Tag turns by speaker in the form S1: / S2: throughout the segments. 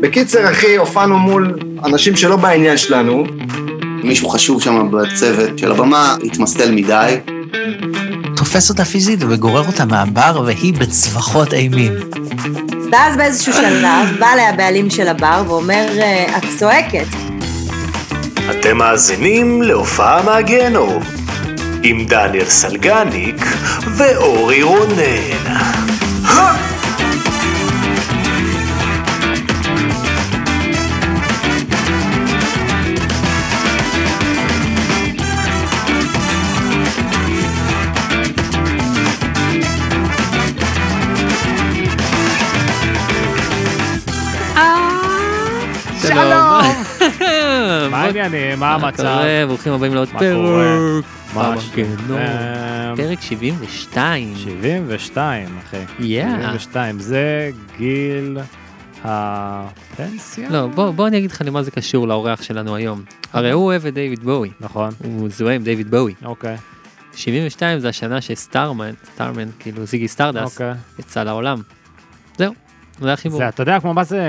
S1: בקיצר, אחי, הופענו מול אנשים שלא בעניין שלנו.
S2: מישהו חשוב שם בצוות של הבמה התמסטל מדי.
S3: תופס אותה פיזית וגורר אותה מהבר, והיא בצווחות אימים.
S4: ואז באיזשהו שלב בא אליה הבעלים של הבר ואומר, "אה, את צועקת.
S5: אתם מאזינים להופעה מהגיהנום עם דניאל סלגניק ואורי רונן.
S6: מה העניינים?
S7: אה,
S6: מה המצב?
S7: קורה? ברוכים הבאים לעוד
S6: מה קורה?
S7: פרק.
S6: מה
S7: במנגנון.
S6: אמ,
S7: פרק 72.
S6: 72, אחי.
S7: יאה.
S6: 72. זה גיל הפנסיה?
S7: לא, בוא בוא אני אגיד לך למה זה קשור לאורח שלנו היום. הרי הוא אוהב את דיוויד בואי.
S6: נכון,
S7: הוא זוהה עם דיוויד בואי.
S6: אוקיי,
S7: 72 זה השנה שסטארמן, סטארמן, כאילו זיגי סטרדס,
S6: אוקיי.
S7: יצא לעולם. זהו, זה החיבור.
S6: זה, אתה יודע כמו מה זה,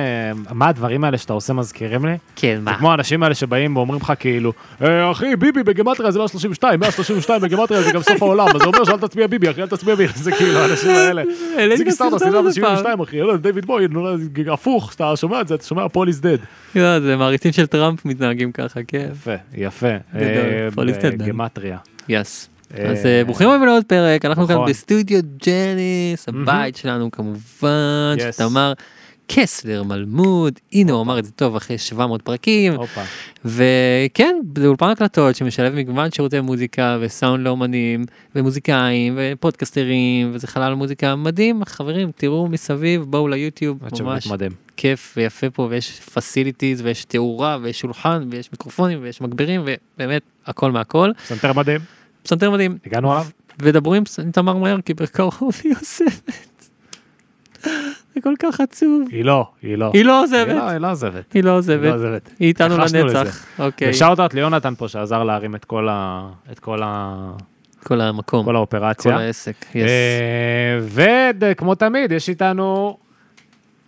S6: מה הדברים האלה שאתה עושה מזכירים לי?
S7: כן,
S6: זה
S7: מה?
S6: כמו האנשים האלה שבאים ואומרים לך כאילו, "אה, אחי, ביבי בגמטריה זה לא 32, 132 בגמטריה זה גם סוף העולם, אז זה אומר שאל תצביע ביבי, אחי, אל תצביע ביבי, זה כאילו האנשים האלה.
S7: העליתי
S6: זיג
S7: את הסרטון
S6: סטארדס, זה
S7: הזה פעם.
S6: 72, אחי, לא, יאללה, דיוויד בוי, נולד, הפוך, אתה שומע את זה, אתה שומע פול איז דד.
S7: לא, זה מעריצים של טראמפ מתנהגים ככה, כן.
S6: יפה, יפה.
S7: גדול,
S6: אה,
S7: פול איז דד.
S6: בגמטריה.
S7: יס.
S6: אה,
S7: אז אה, ברוכים הבאים לעוד פרק, אנחנו כאן
S6: נכון.
S7: בסטודיו ג'ניס, הבית שלנו כמובן,
S6: Yes.
S7: שתמר קסלר מלמוד, הנה הוא אמר את זה טוב אחרי 700 פרקים,
S6: הופה.
S7: וכן, זה אולפן הקלטות שמשלב מגוון שירותי מוזיקה וסאונד לאומנים ומוזיקאים ופודקסטרים, וזה חלל מוזיקה מדהים, חברים, תראו מסביב, בואו ליוטיוב,
S6: עד שבאמת
S7: ממש
S6: מדהים.
S7: כיף ויפה פה, ויש פסיליטיז, ויש תאורה, ויש שולחן, ויש מיקרופונים, ויש מגבירים, ובאמת, הכל מהכל.
S6: פסנתר מדהים,
S7: פסנתר מדהים.
S6: הגענו עליו.
S7: ודברו עם ס- עם תמר מהר כי בקרוב היא עוזבת. זה כל כך עצוב.
S6: היא לא, היא לא.
S7: היא לא
S6: היא לא-
S7: עוזבת,
S6: היא לא עוזבת.
S7: היא לא
S6: היא לא
S7: עוזבת,
S6: עוזבת.
S7: היא איתנו
S6: נחשנו
S7: לנצח. אוקיי,
S6: ושאוטאוט ליונתן פה שעזר להרים את כל ה... את כל ה...
S7: כל המקום,
S6: כל
S7: כל
S6: האופרציה. אה,
S7: העסק, יס.
S6: וכמו תמיד, יש איתנו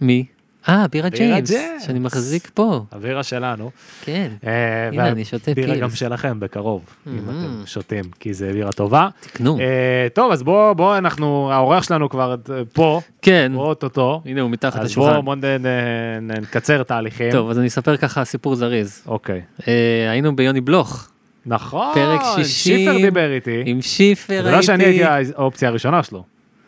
S7: מי? אה, בירה
S6: בירה
S7: ג'יימס,
S6: ג'יימס.
S7: שאני מחזיק פה,
S6: הבירה שלנו.
S7: כן.
S6: אה,
S7: הנה, אני שותה
S6: והבירה
S7: פילס.
S6: גם שלכם בקרוב, אם
S7: Mhm.
S6: אתם שותים, כי זה בירה טובה.
S7: תקנו.
S6: אה, טוב, אז בואו, בואו, אנחנו, האורח שלנו כבר אה, פה,
S7: כן,
S6: הוא אוטוטו.
S7: הנה הוא מתחת
S6: אז בואו
S7: לשולחן.
S6: בואו נ- נ- נ- נקצר תהליכים.
S7: טוב, אז אני אספר ככה סיפור זריז.
S6: אוקיי.
S7: אה, היינו ביוני בלוך,
S6: נכון,
S7: פרק 60.
S6: שיפר דיבר איתי.
S7: עם שיפר,
S6: אתה יודע שאני
S7: הייתי-
S6: הייתי האופציה הראשונה שלו.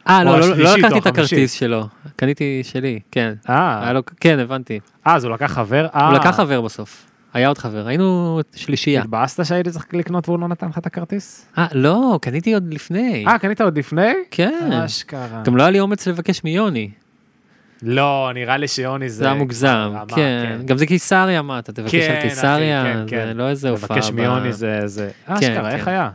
S7: אה,
S6: או
S7: לא, לא, לא
S6: השלישית או
S7: לקחתי את
S6: החמישית.
S7: הכרטיס שלו, קניתי שלי, כן.
S6: אה,
S7: היה לו- כן, הבנתי.
S6: אה, אז הוא לקח חבר? אה,
S7: הוא לקח חבר בסוף. היה עוד חבר, היינו שלישייה.
S6: התבאסת שהייתי צריך לקנות והוא לא נתן לך את הכרטיס?
S7: אה, לא, קניתי עוד לפני.
S6: אה, קנית עוד לפני?
S7: כן.
S6: אשכרה.
S7: גם לא היה לי אומץ לבקש מיוני.
S6: לא, נראה לי שיוני זה...
S7: זה היה מוגזם.
S6: הרמה,
S7: כן. גם זה קיסריה, מה, אתה תבקש
S6: כן,
S7: על
S6: אחי,
S7: קיסריה?
S6: כן,
S7: זה
S6: כן.
S7: לא איזה הופעה.
S6: לבקש
S7: ב-
S6: מיוני זה... זה- אשכרה, איך
S7: כן.
S6: היה?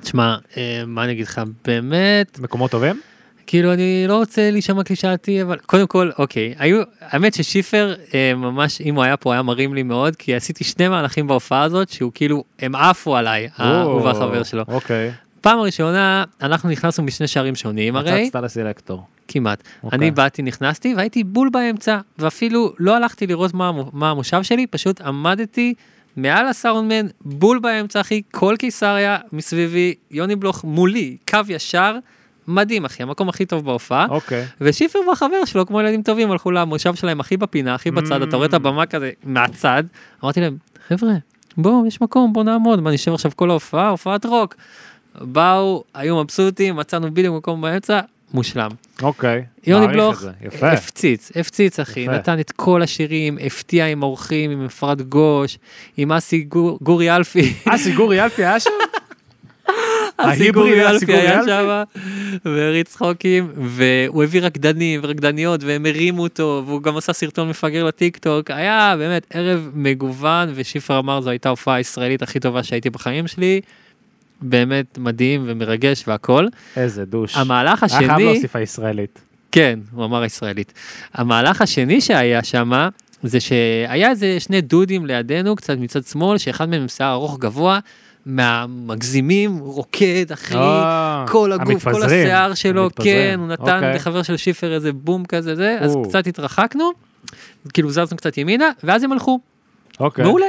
S7: תשמע, אה, מה אני אגיד לך, באמת,
S6: מקומות טובים?
S7: כאילו, אני לא רוצה להישמע קלישאתי, אבל קודם כל, אוקיי. היו, האמת ששיפר, אה, ממש, אם הוא היה פה, היה מרים לי מאוד, כי עשיתי שני מהלכים בהופעה הזאת, שהוא כאילו, הם עפו עליי, אה, הוא
S6: או,
S7: והחבר שלו.
S6: אוקיי.
S7: פעם הראשונה, אנחנו נכנסנו משני שערים שונים, הרי...
S6: מצצת לסלקטור.
S7: כמעט.
S6: אוקיי.
S7: אני באתי, נכנסתי, והייתי בול באמצע, ואפילו לא הלכתי לראות מה המו- מה המושב שלי, פשוט עמדתי מעל הסאונדמן, בול באמצע, אחי, כל קיסריה מסביבי, יוני בלוך מולי, קו ישר, מדהים, אחי, המקום הכי טוב בהופעה.
S6: אוקיי.
S7: ושיפר והחבר שלו, כמו ילדים טובים, הלכו למושב שלהם הכי בפינה, הכי בצד, אתה
S6: Mm.
S7: רואה את הבמה כזה מהצד. אמרתי להם, חבר'ה, בואו, יש מקום, בואו נעמוד, מה, נשב עכשיו כל ההופעה, הופעת רוק. באו, היו מבסוטים, מצאנו בדיוק מקום באמצע, מושלם.
S6: אוקיי.
S7: יוני
S6: מעריך את
S7: בלוך, אה,
S6: זה, יפה.
S7: הפציץ, הפציץ אחי,
S6: יפה.
S7: נתן את כל השירים, הפתיע עם אורחים, עם אפרת גוש, עם אסי גור- גורי אלפי,
S6: אסי גורי אלפי היה שם?
S7: אסי
S6: ההיבריד
S7: גורי
S6: אסי
S7: אלפי
S6: גורי
S7: היה
S6: אלפי?
S7: שם, והריץ צחוקים, והוא הביא רקדנים ורקדניות, והם הרימו אותו, והוא גם עשה סרטון מפגר לטיק טוק, היה באמת ערב מגוון, ושיפר אמר זו הייתה ההופעה הישראלית הכי טובה שהייתי בחיים שלי, באמת מדהים ומרגש והכל.
S6: איזה דוש.
S7: המהלך
S6: היה חייב
S7: השני,
S6: להוסיף אה, הישראלית.
S7: כן, הוא אמר הישראלית. המהלך השני שהיה שם, זה שהיה איזה שני דודים לידינו, קצת מצד שמאל, שאחד מהם עם שיער ארוך גבוה, מהמגזימים, רוקד, אחי,
S6: אה,
S7: כל הגוף, כל
S6: המתפזרים,
S7: השיער שלו,
S6: המתפזרים.
S7: כן, הוא נתן
S6: אוקיי.
S7: לחבר של שיפר איזה בום כזה, זה, אז
S6: או.
S7: קצת התרחקנו, כאילו זזנו קצת ימינה, ואז הם הלכו,
S6: אוקיי.
S7: מעולה.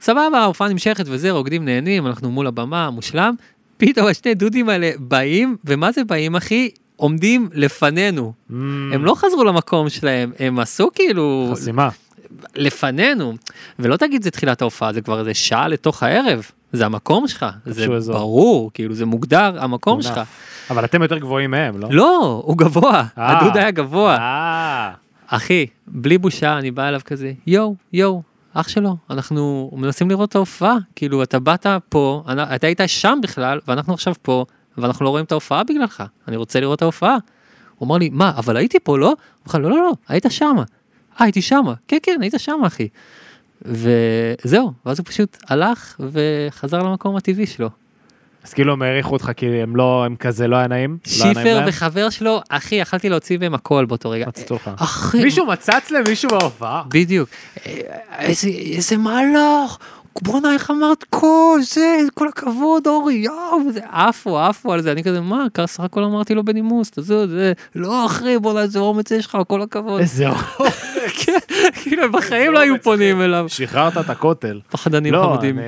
S7: סבבה, ההופעה נמשכת וזה, רוקדים נהנים, אנחנו מול הבמה, מושלם. פתאום השני דודים האלה באים, ומה זה באים, אחי? עומדים לפנינו.
S6: Mm.
S7: הם לא חזרו למקום שלהם, הם עשו כאילו
S6: חסימה.
S7: לפנינו. ולא תגיד זה תחילת ההופעה, זה כבר איזה שעה לתוך הערב. זה המקום שלך, זה
S6: אזור.
S7: ברור, כאילו זה מוגדר המקום שלך.
S6: אה, אבל אתם יותר גבוהים מהם, לא?
S7: לא, הוא גבוה,
S6: אה.
S7: הדוד היה גבוה.
S6: אה,
S7: אחי, בלי בושה, אני בא אליו כזה, יואו, יואו, אח שלו, אנחנו מנסים לראות את ההופעה, כאילו, אתה באת פה, אנ- אתה היית שם בכלל, ואנחנו עכשיו פה, ואנחנו לא רואים את ההופעה בגללך, אני רוצה לראות את ההופעה. הוא אמר לי, מה, אבל הייתי פה, לא? הוא אמר, לא, לא, לא, היית שמה. אה, הייתי שמה, כן, כן, היית שמה, אחי. וזהו, ואז הוא פשוט הלך וחזר למקום הטבעי שלו.
S6: אז כאילו הם העריכו אותך כי הם לא, הם כזה לא היה נעים? לא היה נעים
S7: שיפר
S6: להם?
S7: וחבר שלו, אחי, יכלתי להוציא מהם הכל באותו רגע.
S6: מצאתו לך.
S7: אחי,
S6: מישהו מצץ למישהו בהופעה?
S7: בדיוק. איזה, איזה מהלך, בואנה איך אמרת כל זה, כל הכבוד אורי, יואו, וזה עפו, עפו על זה, אני כזה, מה, כ- סך הכל אמרתי לו בנימוס, תעזוב, זה, לא אחי, בואנה איזה אומץ יש לך, כל הכבוד.
S6: איזה אור.
S7: כן, כאילו, הם בחיים לא היו
S6: אומץ,
S7: פונים אליו.
S6: שחררת את הכותל.
S7: פחדנים
S6: לא,
S7: חמודים.
S6: אני-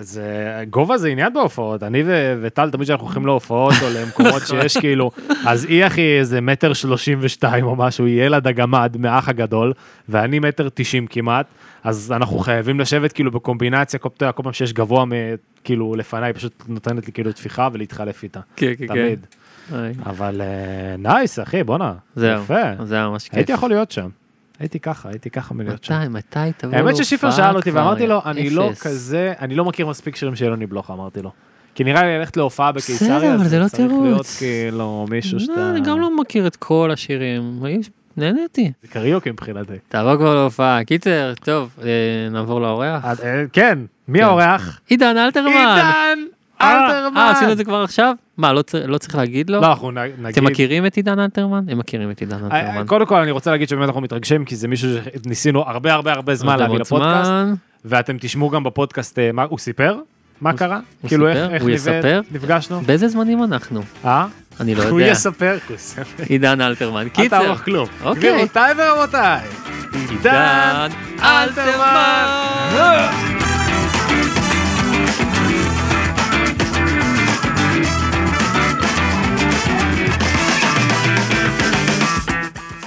S6: זה, גובה זה עניין בהופעות, אני ו- וטל תמיד כשאנחנו הולכים להופעות או למקומות שיש כאילו, אז היא אחי איזה מטר שלושים ושתיים או משהו, היא ילד הגמד מהאח הגדול, ואני מטר תשעים כמעט, אז אנחנו חייבים לשבת כאילו בקומבינציה, כל פעם- כל פעם שיש גבוה מ- כאילו לפניי, היא פשוט נותנת לי כאילו טפיחה ולהתחלף איתה,
S7: כן, כן, כן.
S6: תמיד.
S7: היי,
S6: אבל אה, נייס אחי, בואנה,
S7: זהו,
S6: יפה,
S7: זה היה ממש כיף.
S6: הייתי יכול להיות שם, הייתי ככה, הייתי ככה מלהיות שם.
S7: מתי, מתי תבוא
S6: האמת
S7: להופעה
S6: ששיפר שאל אותי
S7: כבר,
S6: ואמרתי לו,
S7: יא
S6: אני לא
S7: אפס."
S6: כזה, אני לא מכיר מספיק שירים של יוני בלוך, אמרתי לו. כי נראה לי ללכת להופעה בקיסריה,
S7: בסדר, אבל זה לא
S6: צריך להיות
S7: תירוץ.
S6: כאילו מישהו
S7: לא,
S6: שאתה...
S7: אני גם לא מכיר את כל השירים, יש- נהניתי.
S6: זה קריוקי מבחינתי.
S7: תעבור כבר להופעה. קיצר, טוב, אה, נעבור לאורח.
S6: אז, אה, כן, מי האורח?
S7: עידן אלתרמן.
S6: עידן
S7: אה, אה,
S6: אלתרמן!
S7: עשינו את זה כבר עכשיו? מה, לא צר- לא צריך להגיד לו?
S6: לא, אנחנו נ- נגיד...
S7: אתם מכירים את עידן אלתרמן? הם מכירים את עידן
S6: אה, אה,
S7: אלתרמן.
S6: קודם כל אני רוצה להגיד שבאמת אנחנו מתרגשים כי זה מישהו שניסינו הרבה הרבה הרבה זמן
S7: הרבה
S6: להביא
S7: מאוד
S6: לפודקאסט
S7: זמן.
S6: ואתם תשמעו גם בפודקאסט אה, מה הוא סיפר מה
S7: הוא-
S6: קרה
S7: הוא
S6: כאילו
S7: סיפר?
S6: איך איך
S7: הוא יספר?
S6: נבא- נפגשנו
S7: באיזה זמנים אנחנו?
S6: אה?
S7: אני לא
S6: הוא
S7: יודע.
S6: יספר הוא יספר.
S7: עידן אלתרמן.
S6: אל
S7: קיצר,
S6: תערוך כלום.
S7: אוקיי.
S6: גבירותיי ורבותיי,
S7: עידן
S6: עידן
S7: אלתרמן.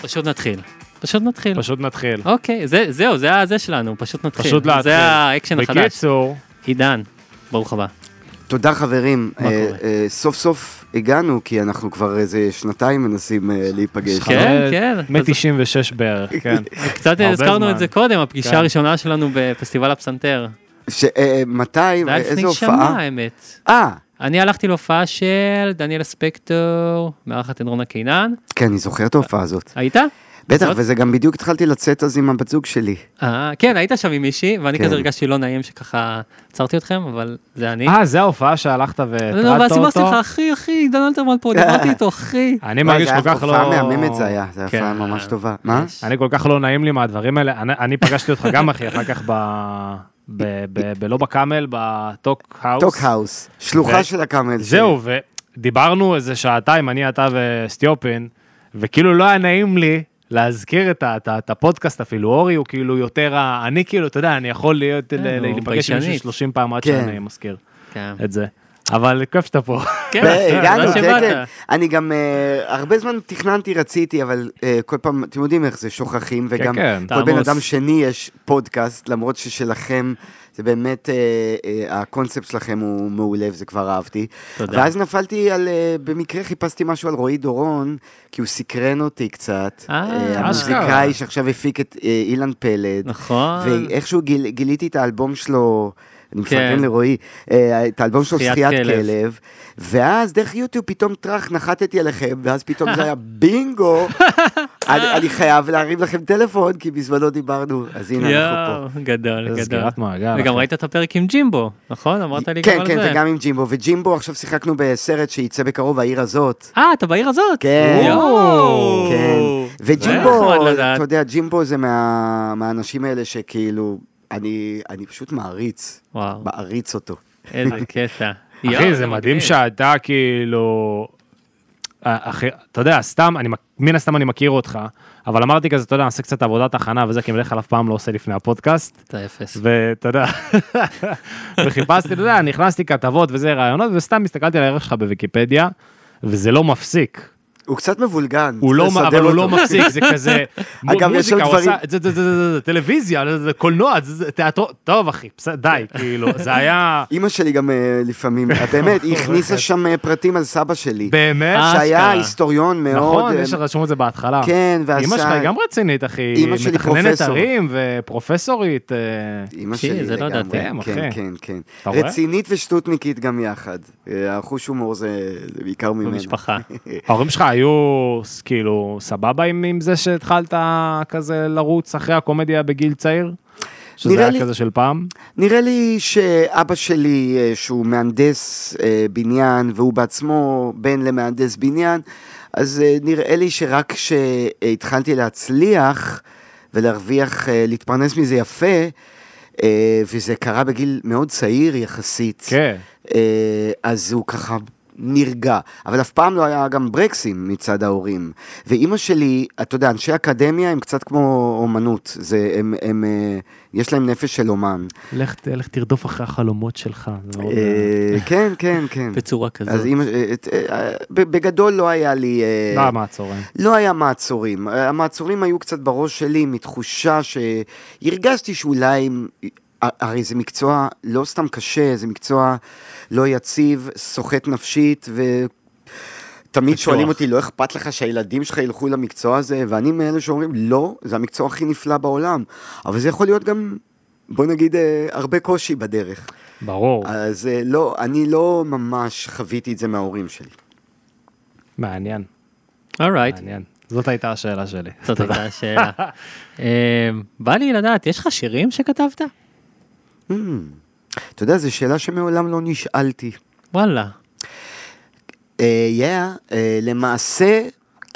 S7: פשוט נתחיל. פשוט נתחיל.
S6: פשוט נתחיל.
S7: אוקיי, זה- זהו, זה ה- זה שלנו, פשוט נתחיל.
S6: פשוט להתחיל.
S7: זה האקשן החדש.
S6: בקיצור,
S7: עידן, ברוך הבא.
S2: תודה חברים,
S7: מה
S2: אה,
S7: קורה?
S2: אה, סוף סוף הגענו, כי אנחנו כבר איזה שנתיים מנסים אה, להיפגש.
S7: כן,
S6: חמד,
S7: כן. אוקיי.
S6: מ-96 בערך, כן.
S7: קצת
S6: הרבה
S7: הזכרנו
S6: זמן.
S7: את זה קודם, הפגישה
S6: כן.
S7: הראשונה שלנו בפסטיבל הפסנתר.
S2: ש- אה, מתי,
S7: זה היה לפני
S2: איזו
S7: שנה
S2: הופעה?
S7: האמת.
S2: אה,
S7: אני הלכתי להופעה של דניאל ספקטור, מארחת את רונה קינן.
S2: כן, אני זוכר את ההופעה הזאת.
S7: היית?
S2: בטח,
S7: זאת?
S2: וזה גם בדיוק התחלתי לצאת אז עם הבת זוג שלי.
S7: אה, כן, היית שם עם מישהי, ואני
S2: כן.
S7: כזה הרגשתי לא נעים שככה עצרתי אתכם, אבל זה אני.
S6: אה, זה ההופעה שהלכת
S7: לא,
S6: והטרדת
S7: ואז אמרתי
S6: אותו?
S7: לך, אחי, אחי, עידן אלתרמן פה, דיברתי איתו, אחי.
S6: אני
S2: וואי,
S6: מרגיש
S2: זה
S6: כל
S2: היה
S6: כך לא... אה.
S2: הופעה מהממת זה היה, זו
S7: כן.
S2: הופעה ממש טובה. מה?
S6: אני כל כך לא נעים לי מהדברים האלה. אני- אני פגשתי אותך גם, אחי, אחר כך ב... ב- ב- ב- לא בקאמל, בטוק האוס.
S2: טוק האוס,
S6: ו-
S2: שלוחה של הקאמל.
S6: זהו, ודיברנו איזה שעתיים, אני, אתה וסטיופין, וכאילו לא היה נעים לי להזכיר את, ה- את, ה- את הפודקאסט אפילו, אורי הוא כאילו יותר, ה- אני כאילו, אתה יודע, אני יכול להיות, ל-
S7: כן, הוא
S6: להיפגש עם מישהו
S7: ביישנית.
S6: 30 פעם עד
S2: כן.
S6: שאני מזכיר
S7: כן,
S6: את זה. אבל כיף שאתה פה.
S7: כן,
S2: ו- הגענו,
S7: תודה
S2: כן,
S7: שבאת.
S2: כן. אני גם אה, הרבה זמן תכננתי, רציתי, אבל אה, כל פעם, אתם יודעים איך זה, שוכחים, וגם
S6: כן,
S2: כל בן
S7: תעמוס.
S2: אדם שני יש פודקאסט, למרות ששלכם, זה באמת, אה, אה, הקונספט שלכם הוא מעולה, וזה כבר אהבתי.
S7: תודה.
S2: ואז נפלתי על, אה, במקרה חיפשתי משהו על רועי דורון, כי הוא סקרן אותי קצת.
S7: אה,
S2: אה,
S6: אשכרה.
S2: המוזיקאי שעכשיו הפיק את אה, אילן פלד.
S7: נכון.
S2: ואיכשהו גיל, גיליתי את האלבום שלו, אני
S7: כן.
S2: מפרגן לרועי, אה, את האלבום שלו
S7: שחיית
S2: שחיית
S7: כלב.
S2: כלב, ואז דרך יוטיוב פתאום טראח נחתתי עליכם, ואז פתאום זה היה בינגו, אני, אני חייב להרים לכם טלפון, כי בזמנו דיברנו, אז הנה אנחנו
S7: יואו,
S2: פה.
S7: גדול,
S6: זה
S7: גדול.
S6: סגירת מעגל.
S7: וגם
S6: אחי.
S7: ראית את הפרק עם ג'ימבו, נכון? אמרת לי
S2: כן,
S7: גם על
S2: כן,
S7: זה.
S2: וגם עם ג'ימבו, וג'ימבו עכשיו שיחקנו בסרט שייצא בקרוב, העיר הזאת.
S7: אה, אתה בעיר הזאת?
S2: כן.
S7: יואו.
S2: כן,
S7: זה
S2: וג'ימבו,
S7: נחמד לדעת.
S2: אתה יודע, ג'ימבו זה מה, מהאנשים האלה שכאילו, אני, אני פשוט מעריץ,
S7: וואו,
S2: מעריץ אותו.
S7: איזה קטע. יואו,
S6: אחי, זה מדהים
S7: מגניב.
S6: שאתה כאילו... אה, אחי, אתה יודע, סתם, אני, מק- מן הסתם אני מכיר אותך, אבל אמרתי כזה, אתה יודע, נעשה קצת עבודת הכנה וזה, כי בדרך כלל אף פעם לא עושה לפני הפודקאסט.
S7: אתה אפס.
S6: ואתה יודע, וחיפשתי, אתה יודע, נכנסתי כתבות וזה רעיונות, וסתם הסתכלתי על הערך שלך בוויקיפדיה, וזה לא מפסיק.
S2: הוא קצת מבולגן.
S6: הוא
S2: צריך
S6: לא,
S2: לסדר
S6: אבל הוא לא
S2: אותו.
S6: מפסיק, זה כזה,
S2: אגב, יש שם
S6: מוזיקה, הוא
S2: דברים-
S6: עשה, זה- זה- זה- זה- זה- טלוויזיה, זה- זה- קולנוע, זה- זה- תיאטרון, טוב אחי, בסדר, די, כאילו, זה היה,
S2: אימא שלי גם אה, לפעמים, את האמת, היא
S6: אוקיי.
S2: הכניסה שם אה, פרטים על סבא שלי.
S6: באמת,
S7: אה,
S2: שהיה
S7: אשכרה.
S2: היסטוריון מאוד...
S6: נכון,
S2: אה,
S6: יש רשום את זה בהתחלה.
S2: כן, ועשה...
S6: אמא שלך היא גם רצינית, אחי.
S2: אמא שלי
S6: מתכננת
S2: פרופסור.
S6: ערים ופרופסורית. אה,
S2: אימא
S7: שי,
S2: שלי
S7: זה לא
S2: לגמרי.
S6: ידעתם,
S2: כן,
S6: אחי.
S2: כן, כן.
S6: אתה רואה?
S2: רצינית ושטותניקית גם יחד. אה, החוש הומור זה זה בעיקר ממנו.
S7: במשפחה.
S6: ההורים שלך היו ס- כאילו סבבה עם עם זה שהתחלת כזה לרוץ אחרי הקומדיה בגיל צעיר? שזה
S2: נראה
S6: היה
S2: לי-
S6: כזה של פעם?
S2: נראה לי שאבא שלי, אה, שהוא מהנדס אה, בניין, והוא בעצמו בן למהנדס בניין, אז אה, נראה לי שרק כשהתחלתי להצליח ולהרוויח, אה, להתפרנס מזה יפה, אה, וזה קרה בגיל מאוד צעיר יחסית,
S6: כן.
S2: אה, אז הוא ככה נרגע. אבל אף פעם לא היה גם ברקסים מצד ההורים. ואימא שלי, אתה יודע, אנשי אקדמיה הם קצת כמו אומנות, זה, הם, הם, אה, יש להם נפש של אומן.
S6: לך ת- לך תרדוף אחרי החלומות שלך. זה מאוד, אה,
S2: אה, כן, כן, כן.
S7: בצורה כזאת.
S2: אז אימא, אה, אה, אה, ב- בגדול לא היה לי... אה,
S6: למה הצהריים?
S2: לא היה מעצורים. אה, המעצורים היו קצת בראש שלי מתחושה שהרגשתי שאולי... אם- ה- הרי זה מקצוע לא סתם קשה, זה מקצוע לא יציב, סוחט נפשית, ותמיד
S7: קשוח.
S2: שואלים אותי, לא אכפת לך שהילדים שלך ילכו למקצוע הזה? ואני מאלה שאומרים, לא, זה המקצוע הכי נפלא בעולם. אבל זה יכול להיות גם, בוא נגיד, אה, הרבה קושי בדרך.
S6: ברור.
S2: אז אה, לא, אני לא ממש חוויתי את זה מההורים שלי.
S6: מעניין,
S7: אורייט.
S6: מעניין. אה, זאת הייתה השאלה שלי.
S7: זאת הייתה השאלה. אמ, בא לי לדעת, יש לך שירים שכתבת?
S2: Hmm. אתה יודע, זו שאלה שמעולם לא נשאלתי.
S7: וואלה.
S2: אה, יאה, אה, למעשה,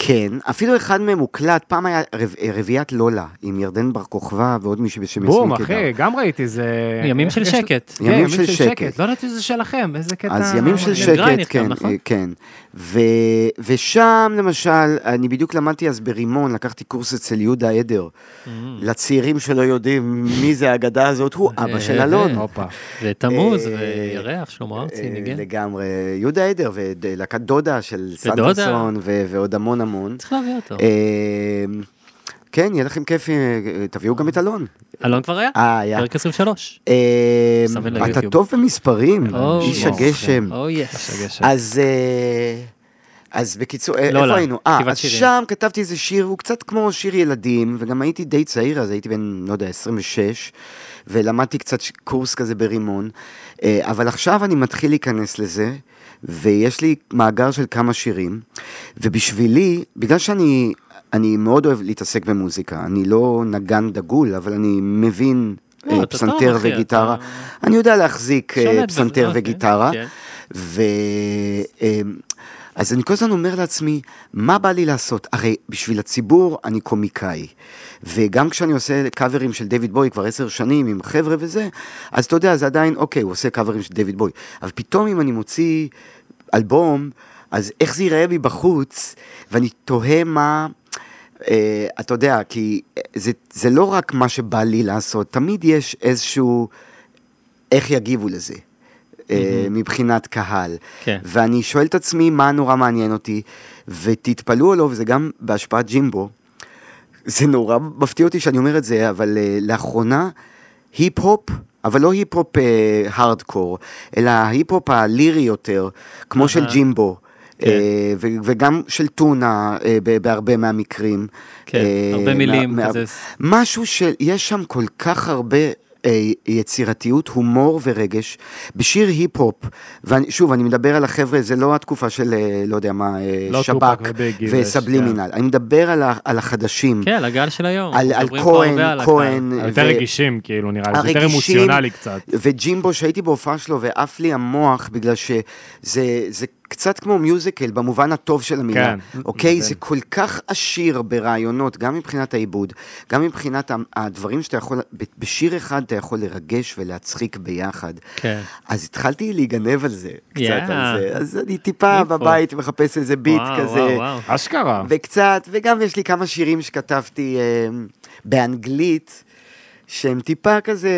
S2: כן. אפילו אחד מהם הוקלט, פעם היה רב- אה, רביעיית לולה, עם ירדן בר כוכבא ועוד מישהו בשם
S6: בום,
S2: קידר.
S6: אחי, גם ראיתי זה...
S7: ימים של
S6: יש-
S7: שקט.
S6: כן,
S2: ימים של שקט.
S6: לא ידעתי שזה שלכם, איזה קטע...
S2: אז ימים של
S7: מעניין.
S2: שקט,
S7: גרייניך גם,
S2: כן,
S7: נכון?
S2: אה, כן. ו- ושם, למשל, אני בדיוק למדתי אז ברימון, לקחתי קורס אצל יהודה עדר. לצעירים שלא יודעים מי זה האגדה הזאת, הוא אבא של
S7: אה,
S2: אלון.
S7: אה, זה תמוז
S2: אה,
S7: וירח, שלמה ארצי,
S2: אה,
S7: ניגן.
S2: לגמרי, יהודה עדר ולהקת דודה של
S7: ודודה.
S2: סנדרסון ו- ועוד המון המון.
S7: צריך להביא אותו.
S2: אה, כן, יהיה לכם כיף, אה, אה, תביאו גם את אלון.
S7: אלון כבר היה?
S2: אה, היה.
S7: פרק 23.
S2: אה,
S7: סמן
S2: אתה
S7: ליוטיוב.
S2: טוב במספרים,
S7: או,
S2: אה, איש
S7: וואו, Oh,
S2: הגשם.
S7: או יס.
S2: אז... אה, אז בקיצור, אה,
S7: לא, לא,
S2: איפה היינו? אה,
S7: כתיבת
S2: אז
S7: שירים.
S2: שם כתבתי איזה שיר, הוא קצת כמו שיר ילדים, וגם הייתי די צעיר, אז הייתי בן, לא יודע, 26, ולמדתי קצת ש- קורס כזה ברימון, אה, אבל עכשיו אני מתחיל להיכנס לזה, ויש לי מאגר של כמה שירים, ובשבילי, בגלל שאני אני מאוד אוהב להתעסק במוזיקה, אני לא נגן דגול, אבל אני מבין אה,
S7: לא, אתה טוב,
S2: פסנתר
S7: אחי, אתה-
S2: וגיטרה, אני יודע להחזיק אה,
S7: שולט בזה,
S2: פסנתר
S7: אוקיי,
S2: וגיטרה.
S7: כן.
S2: ו... אמ, אז אני כל הזמן אומר לעצמי, מה בא לי לעשות? הרי בשביל הציבור אני קומיקאי. וגם כשאני עושה קאברים של דיוויד בוי כבר עשר שנים עם חבר'ה וזה, אז אתה יודע, זה עדיין, אוקיי, הוא עושה קאברים של דיוויד בוי. אבל פתאום אם אני מוציא אלבום, אז איך זה ייראה מבחוץ, ואני תוהה מה... אה, אתה יודע, כי זה, זה לא רק מה שבא לי לעשות, תמיד יש איזשהו... איך יגיבו לזה. אה, מבחינת קהל.
S7: כן.
S2: ואני שואל את עצמי מה נורא מעניין אותי, ותתפלאו או לא, וזה גם בהשפעת ג'ימבו. זה נורא מפתיע אותי שאני אומר את זה, אבל אה, לאחרונה, היפ-הופ, אבל לא היפ-הופ אה, הארדקור, אלא היפ-הופ הלירי יותר, כמו של ג'ימבו.
S7: כן.
S2: אה, ו- וגם של טונה אה, ב- בהרבה מהמקרים.
S7: כן,
S2: אה,
S7: הרבה
S2: מה-
S7: מילים
S2: מה-
S7: כזה.
S2: משהו שיש שם כל כך הרבה אה, יצירתיות, הומור ורגש, בשיר היפ-הופ, ושוב, אני מדבר על החבר'ה, זה לא התקופה של, אה, לא יודע מה, אה,
S6: לא
S2: שב"כ
S6: טופק וביגי וש-
S2: וסבלימינל, אני מדבר על, ה- על החדשים,
S7: כן, על הגל של היום.
S2: על, על
S7: מדברים פה הרבה על
S2: כהן,
S7: הקהל.
S2: כהן,
S6: יותר רגישים, כאילו, נראה לי, זה יותר
S2: הרגישים-
S6: אמוציונלי קצת.
S2: וג'ימבו שהייתי בהופעה שלו ועף לי המוח בגלל שזה זה קצת כמו מיוזיקל במובן הטוב של המילה,
S6: כן.
S2: אוקיי?
S6: כן.
S2: זה כל כך עשיר ברעיונות, גם מבחינת העיבוד, גם מבחינת ה- הדברים שאתה יכול, ב- בשיר אחד אתה יכול לרגש ולהצחיק ביחד.
S7: כן.
S2: אז התחלתי להיגנב על זה, קצת
S7: Yeah.
S2: על זה. אז אני טיפה
S7: איפה?
S2: בבית מחפש איזה ביט
S7: וואו,
S2: כזה.
S7: וואו, וואו.
S6: אשכרה.
S2: וקצת, וגם יש לי כמה שירים שכתבתי אה, באנגלית, שהם טיפה כזה,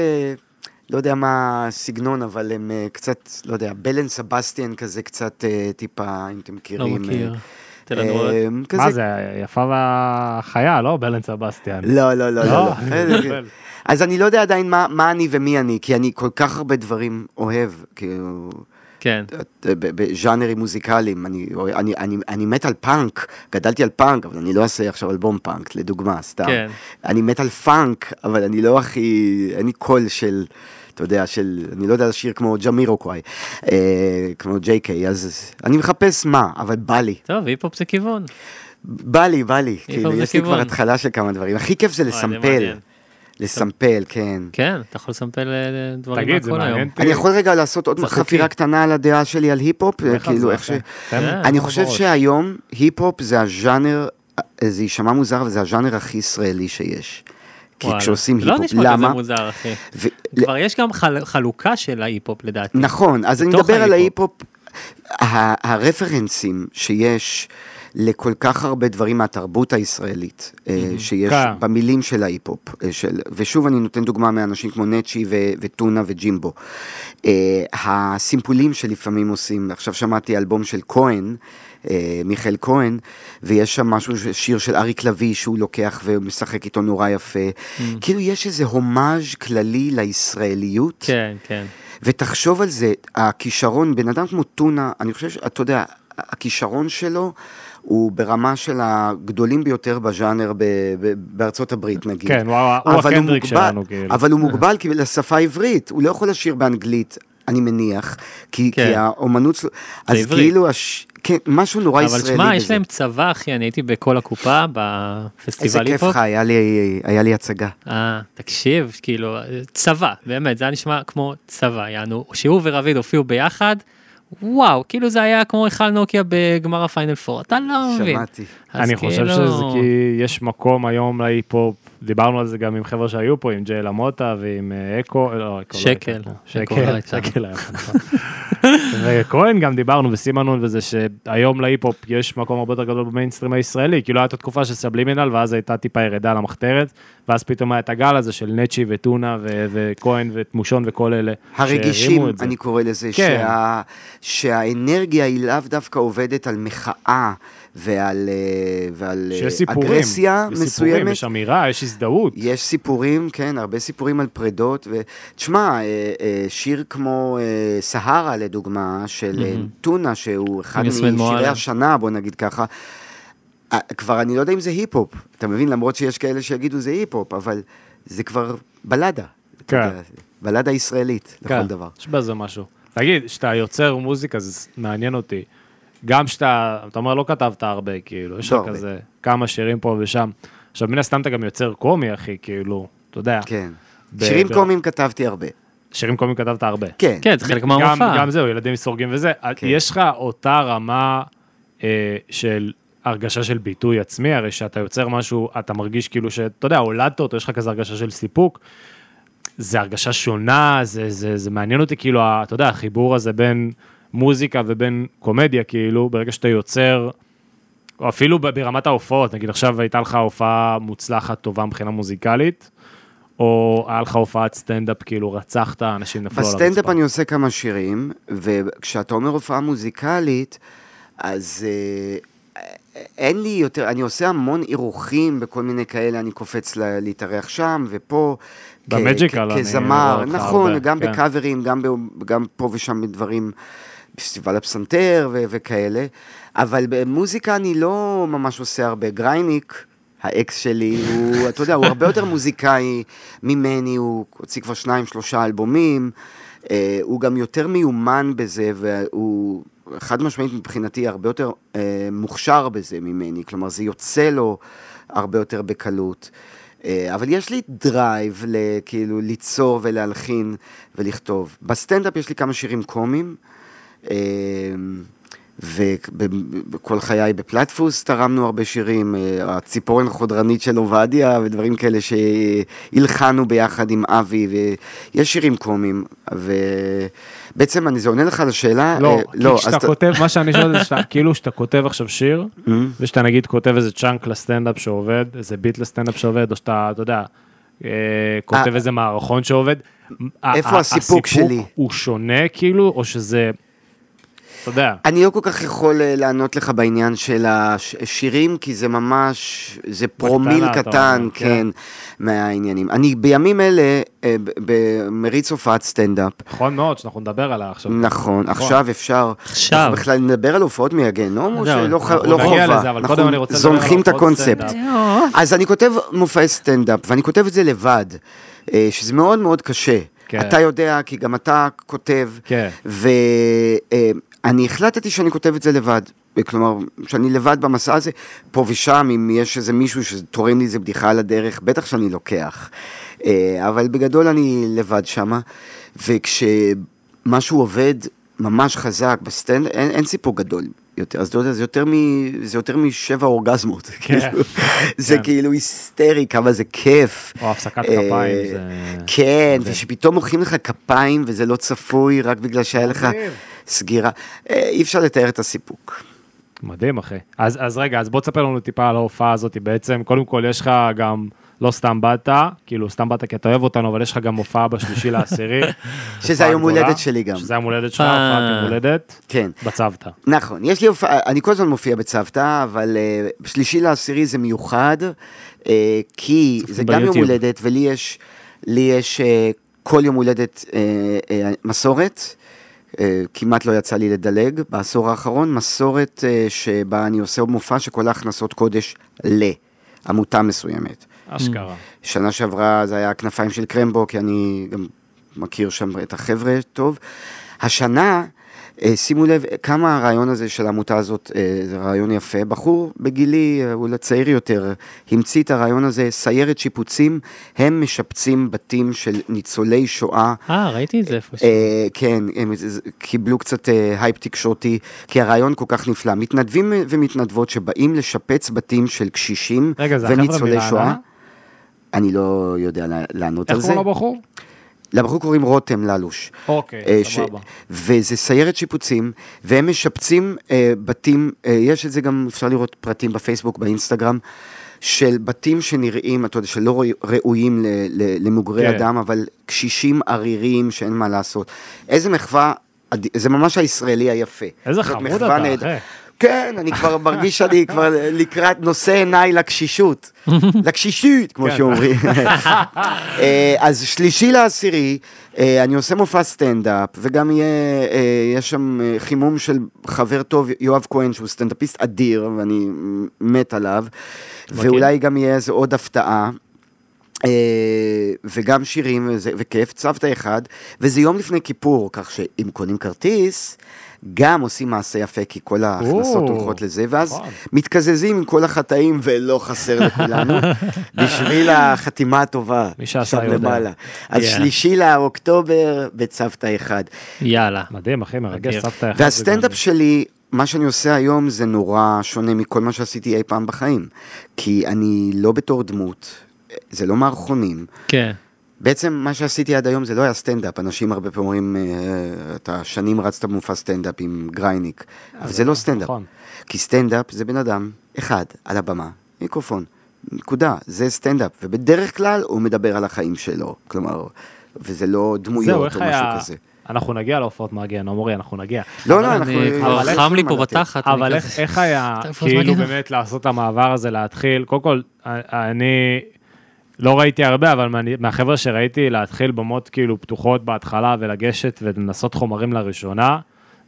S2: לא יודע מה הסגנון, אבל הם אה, קצת, לא יודע, בלן סבסטיאן כזה קצת אה, טיפה, אם אתם
S7: לא
S2: מכירים.
S7: מכיר.
S2: אה,
S7: תן לנו עוד.
S2: אה, כזה-
S6: מה זה, יפה והחיה, לא? בלן סבסטיאן.
S2: לא, לא, לא, לא.
S6: לא,
S2: לא.
S6: אני מתבלבל.
S2: אז אני לא יודע עדיין מה, מה אני ומי אני, כי אני כל כך הרבה דברים אוהב, כאילו...
S7: כן.
S2: את- ב- בז'אנרים מוזיקליים, אני, אני, אני, אני מת על פאנק, גדלתי על פאנק, אבל אני לא אעשה עכשיו אלבום פאנק, לדוגמה, סתם.
S7: כן.
S2: אני מת על פאנק, אבל אני לא הכי, אין לי קול של, אתה יודע, של, אני לא יודע לשיר כמו ג'מירוקוואי, אה, כמו ג'יי קיי, אז אני מחפש מה, אבל בא לי,
S7: טוב, היפ-הופ זה כיוון.
S2: בא לי, בא לי, כאילו,
S7: זה
S2: יש לי כבר
S7: כיוון.
S2: התחלה של כמה דברים, הכי כיף זה
S7: זה
S2: לסמפל,
S7: מעניין.
S2: לסמפל, כן.
S7: כן, אתה יכול לסמפל אה, דברים
S6: תגיד, זה
S7: מהכל
S6: מעניין.
S7: היום.
S6: אותי.
S2: אני יכול רגע לעשות עוד
S7: חוקי.
S2: חפירה קטנה על הדעה שלי על היפ-הופ,
S6: לך על
S2: כאילו
S6: זה,
S2: איך ש...
S6: כן. תן-
S2: אני
S6: תן
S2: חושב
S6: בראש.
S2: שהיום היפ-הופ זה הז'אנר, זה יישמע מוזר, אבל זה הז'אנר הכי ישראלי שיש. כי
S7: וואלה.
S2: כשעושים
S7: לא
S2: היפ-הופ,
S7: נשמע כזה
S2: למה?
S7: מוזר, אחי.
S2: ו-
S7: כבר יש גם חל- חלוקה של ההיפ-הופ לדעתי.
S2: נכון, אז אני
S7: בתוך
S2: מדבר על
S7: ההיפ-הופ.
S2: ההיפ-הופ, ה- הרפרנסים שיש לכל כך הרבה דברים מהתרבות הישראלית, אה, שיש
S6: כן.
S2: במילים של ההיפ-הופ, אה, של- ושוב אני נותן דוגמה מאנשים כמו נצ'י ו- וטונה וג'ימבו. אה, הסימפולים שלפעמים עושים, עכשיו שמעתי אלבום של כהן, אה, מיכאל כהן, ויש שם משהו, ש- שיר של אריק לביא שהוא לוקח ומשחק איתו נורא יפה. כאילו יש איזה הומאז' כללי לישראליות.
S7: כן, כן.
S2: ותחשוב על זה, הכישרון, בן אדם כמו טונה, אני חושב, אתה יודע, הכישרון שלו הוא ברמה של הגדולים ביותר בז'אנר ב- ב- בארצות הברית, נגיד.
S6: כן, הוא ה- הוא
S2: אבל
S6: הקנדריק
S2: מוגבל-
S6: שלנו, כאילו.
S2: אבל הוא מוגבל כי- לשפה העברית, הוא לא יכול לשיר באנגלית. אני מניח, כי,
S7: כן.
S2: כי האומנות שלו, אז
S7: עברית.
S2: כאילו, הש... כן, משהו נורא
S7: אבל
S2: ישראלי בזה.
S7: שמע, יש להם צבא, אחי, אני הייתי בכל הקופה בפסטיבל
S2: איזה
S7: היפ-הופ.
S2: כיף לך, היה לי, היה לי הצגה.
S7: אה, תקשיב, כאילו, צבא, באמת, זה היה נשמע כמו צבא, יענו, שהוא ורביד הופיעו ביחד, וואו, כאילו זה היה כמו היכל נוקיה בגמר הפיינל פור, אתה לא מבין.
S2: שמעתי.
S7: אז
S6: אני חושב
S7: כאילו-
S6: שזה כי יש מקום היום להיפ-הופ, דיברנו על זה גם עם חבר'ה שהיו פה, עם ג'יילה מוטה ועם אה, אקו, לא, אקו לא
S7: שקל.
S6: הייתה פה.
S7: אקו לא
S6: שקל,
S7: הייתה.
S6: שקל היה פה, נכון. וכהן גם דיברנו וסימנון וזה שהיום להיפ-הופ יש מקום הרבה יותר גדול במיינסטרים הישראלי, כאילו הייתה תקופה של סבלימינל ואז הייתה טיפה ירידה למחתרת, ואז פתאום היה את הגל הזה של נצ'י וטונה ו- וכהן ותמושון וכל אלה.
S2: הרגישים,
S6: שהרימו את זה.
S2: אני קורא לזה,
S6: כן.
S2: שה, שהאנרגיה היא לאו דווקא עובדת על מחאה ועל, אה, ועל אה,
S6: שיש סיפורים,
S2: אגרסיה
S6: יש סיפורים,
S2: מסוימת.
S6: יש אמירה, יש הזדהות.
S2: יש סיפורים, כן, הרבה סיפורים על פרדות. ו... תשמע, אה, אה, שיר כמו אה, סהרה, לדוגמה, של אה, טונה, שהוא אחד
S7: יסמין
S2: משירי
S7: מועלם.
S2: השנה, בוא נגיד ככה, אה, כבר אני לא יודע אם זה היפ-הופ, אתה מבין? למרות שיש כאלה שיגידו זה היפ-הופ, אבל זה כבר בלדה. אתה
S6: כן.
S2: יודע, בלדה ישראלית, לכל
S6: כן,
S2: דבר.
S6: יש בזה משהו. תגיד, כשאתה יוצר מוזיקה, זה מעניין אותי. גם שאתה, אתה אומר, לא כתבת הרבה, כאילו, יש
S2: לא
S6: לך
S2: הרבה.
S6: כזה כמה שירים פה ושם. עכשיו, מן הסתם אתה גם יוצר קומי, אחי, כאילו, אתה יודע.
S2: כן.
S6: ב-
S2: שירים
S6: ב-
S2: קומיים כתבתי הרבה.
S6: שירים קומיים כתבת הרבה.
S2: כן.
S7: כן, זה חלק
S6: גם,
S7: מהמופע.
S6: גם זהו, ילדים סורגים וזה.
S2: כן.
S6: יש לך אותה רמה אה, של הרגשה של ביטוי עצמי, הרי שאתה יוצר משהו, אתה מרגיש כאילו שאתה יודע, הולדת אותו, יש לך כזה הרגשה של סיפוק. זה הרגשה שונה, זה, זה, זה מעניין אותי, כאילו, ה- אתה יודע, החיבור הזה בין מוזיקה ובין קומדיה, כאילו, ברגע שאתה יוצר, או אפילו ב- ברמת ההופעות, נגיד עכשיו הייתה לך הופעה מוצלחת, טובה מבחינה מוזיקלית, או היה לך הופעת סטנדאפ, כאילו, רצחת, אנשים נפלו על הרצפה.
S2: בסטנדאפ אני עושה כמה שירים, וכשאתה אומר הופעה מוזיקלית, אז אה, אין לי יותר, אני עושה המון אירוחים בכל מיני כאלה, אני קופץ ל- להתארח שם ופה. כ-
S6: במג'יקל
S2: כ-
S6: אני
S2: כזמר,
S6: רואה אותך
S2: נכון,
S6: הרבה,
S2: גם
S6: כן.
S2: בקאברים, גם ב- גם פה ושם בדברים, פסטיבל הפסנתר ו- וכאלה, אבל במוזיקה אני לא ממש עושה הרבה. גרייניק, האקס שלי, הוא, אתה יודע, הוא הרבה יותר מוזיקאי ממני, הוא הוציא כבר שניים, שלושה אלבומים, אה, הוא גם יותר מיומן בזה, והוא חד משמעית מבחינתי הרבה יותר אה, מוכשר בזה ממני, כלומר זה יוצא לו הרבה יותר בקלות. אה, אבל יש לי דרייב ל- כאילו ליצור ולהלחין ולכתוב. בסטנדאפ יש לי כמה שירים קומיים, אה, וכל חיי בפלטפוס תרמנו הרבה שירים, אה, הציפורן החודרנית של עובדיה ודברים כאלה שהלחנו ביחד עם אבי, ויש שירים קומיים, ובעצם אני, זה עונה לך על השאלה,
S6: לא,
S2: אה,
S6: לא, כשאתה
S2: אתה- Mm.
S6: כותב, מה שאני שואל זה שאתה, כאילו שאתה כותב עכשיו שיר, ושאתה נגיד כותב איזה צ'אנק לסטנדאפ שעובד, איזה ביט לסטנדאפ שעובד, או שאתה, אתה יודע, אה, כותב
S2: אה.
S6: איזה מערכון שעובד, ה-
S2: איפה
S6: ה-
S2: הסיפוק שלי?
S6: הוא שונה כאילו, או שזה, אתה יודע,
S2: אני לא כל כך יכול אה, לענות לך בעניין של השירים, כי זה ממש, זה פרומיל
S6: בקטנה, אתה
S2: קטן,
S6: אומר, כן.
S2: כן, מהעניינים. אני בימים אלה אה, ב- במריץ הופעת סטנדאפ,
S6: נכון מאוד שאנחנו נדבר עליה עכשיו.
S2: נכון, עכשיו אפשר,
S7: עכשיו.
S2: אנחנו בכלל נדבר על הופעות מהגיהנום, או
S7: זהו,
S2: שלא ח-
S6: אנחנו
S2: לא
S6: נגיע
S2: חובה,
S6: לזה, אבל קודם אני
S2: אנחנו
S6: רוצה לדבר על
S2: זונחים את
S6: הופעות
S2: הקונספט. אז אני כותב מופעי סטנדאפ, ואני כותב את זה לבד, אה, שזה מאוד מאוד קשה.
S6: כן.
S2: אתה יודע, כי גם אתה כותב,
S6: כן.
S2: ואני החלטתי שאני כותב את זה לבד. כלומר, שאני לבד במסע הזה, פה ושם, אם יש איזה מישהו שתורם לי איזה בדיחה על הדרך, בטח שאני לוקח. אה, אבל בגדול אני לבד שמה, וכשמשהו עובד ממש חזק בסטנד, אין, אין סיפור גדול יותר. אז אתה יודע, זה יותר, מ, זה יותר משבע אורגזמות. כאילו. זה
S6: כן.
S2: כאילו היסטרי, כמה זה כיף.
S6: או הפסקת
S2: אה,
S6: כפיים, זה-
S2: כן, ושפתאום מוחאים לך כפיים וזה לא צפוי, רק בגלל שהיה לך סגירה. אה, אי אפשר לתאר את הסיפוק.
S6: מדהים אחי. אז, אז רגע, אז בוא תספר לנו טיפה על ההופעה הזאת, בעצם, קודם כל יש לך גם, לא סתם באת, כאילו סתם באת כי אתה אוהב אותנו, אבל יש לך גם הופעה בשלישי לעשירי. הופעה
S2: היום
S6: גדולה,
S2: הולדת שלי גם.
S6: שזה היום הולדת שלך,
S7: אה.
S6: הופעת יום הולדת,
S2: כן.
S6: בצוותא.
S2: נכון, יש לי הופעה, אני כל הזמן מופיע בצוותא, אבל אה, בשלישי לעשירי זה מיוחד, אה, כי זה גם יום
S6: ביוטיוב.
S2: הולדת, ולי יש, לי יש אה, כל יום הולדת אה, אה, מסורת, אה, כמעט לא יצא לי לדלג בעשור האחרון, מסורת אה, שבה אני עושה מופע שכל ההכנסות קודש לעמותה מסוימת.
S6: אשכרה.
S2: שנה שעברה זה היה הכנפיים של קרמבו, כי אני גם מכיר שם את החבר'ה טוב. השנה, אה, שימו לב אה, כמה הרעיון הזה של העמותה הזאת, אה, זה רעיון יפה. בחור בגילי, אה, אולי צעיר יותר, המציא את הרעיון הזה, סיירת שיפוצים, הם משפצים בתים של ניצולי שואה.
S7: אה, ראיתי את זה איפשהו.
S2: אה, כן, הם ז- ז- קיבלו קצת אה, הייפ תקשורתי, כי הרעיון כל כך נפלא. מתנדבים ומתנדבות שבאים לשפץ בתים של קשישים
S6: רגע, זה החבר'ה
S2: וניצולי
S6: מרעננה?
S2: שואה. אני לא יודע לע- לענות
S6: איך
S2: על זה.
S6: קוראים לבחור?
S2: לבחור קוראים רותם ללוש.
S6: אוקיי,
S2: אה,
S6: סבבה.
S2: וזה סיירת שיפוצים, והם משפצים אה, בתים, אה, יש את זה גם, אפשר לראות פרטים בפייסבוק, באינסטגרם, של בתים שנראים, אתה יודע, שלא רואי- ראויים ל- ל- למוגרי
S6: כן.
S2: אדם, אבל קשישים עריריים שאין מה לעשות. איזה מחווה, אד- זה ממש הישראלי היפה.
S6: איזה
S2: זאת
S6: חמוד
S2: מחווה
S6: אתה,
S2: נהדר.
S6: אחי.
S2: כן, אני כבר מרגיש שאני כבר לקראת נושא עיניי לקשישות. לקשישות, כמו
S6: כן.
S2: שאומרים. אה, אז שלישי לעשירי, אה, אני עושה מופע סטנדאפ, וגם יהיה, אה, יש שם אה, חימום של חבר טוב, יואב כהן, שהוא סטנדאפיסט אדיר, ואני מת עליו, ואולי גם יהיה איזה עוד הפתעה. אה, וגם שירים וזה, וכיף, צוותא אחד, וזה יום לפני כיפור, כך שאם קונים כרטיס, גם עושים מעשה יפה, כי כל ההכנסות
S6: או,
S2: הולכות לזה, ואז
S6: נכון.
S2: מתקזזים עם כל החטאים, ולא חסר לכולנו, בשביל החתימה הטובה,
S6: מי שעשה
S2: שם
S6: יודע.
S2: למעלה. אז
S7: Yeah.
S2: שלישי לאוקטובר בצוותא אחד.
S7: יאללה.
S6: מדהים, אחי, מרגש,
S7: אדיר.
S6: סבתא אחד. זה
S2: והסטנדאפ
S6: גם-
S2: שלי, מה שאני עושה היום זה נורא שונה מכל מה שעשיתי אי פעם בחיים. כי אני לא בתור דמות, זה לא מערכונים.
S7: כן.
S2: בעצם מה שעשיתי עד היום זה לא היה סטנדאפ, אנשים הרבה פעמים אומרים, "אה, אתה שנים רצת במופע סטנדאפ עם גרייניק, אבל זה לא סטנדאפ.
S6: נכון.
S2: כי סטנדאפ זה בן אדם אחד על הבמה, מיקרופון, נקודה, זה סטנדאפ, ובדרך כלל הוא מדבר על החיים שלו, כלומר, וזה לא
S6: זהו,
S2: דמויות
S6: איך
S2: או משהו
S6: היה...
S2: כזה.
S6: אנחנו נגיע להופעות מהגן, עמרי, אנחנו נגיע.
S2: לא, לא, אנחנו...
S7: אני כבר
S2: אבל אין
S7: חם לי
S2: מה
S7: פה
S2: לתת.
S7: בתחת. אני
S6: אבל
S7: כזה-
S6: איך, איך היה,
S7: אתה איפה
S6: כאילו
S7: הזמן?
S6: באמת לעשות את המעבר הזה, להתחיל, קודם כל, אני לא ראיתי הרבה, אבל מה- מהחבר'ה שראיתי, להתחיל במות כאילו פתוחות בהתחלה ולגשת ולנסות חומרים לראשונה,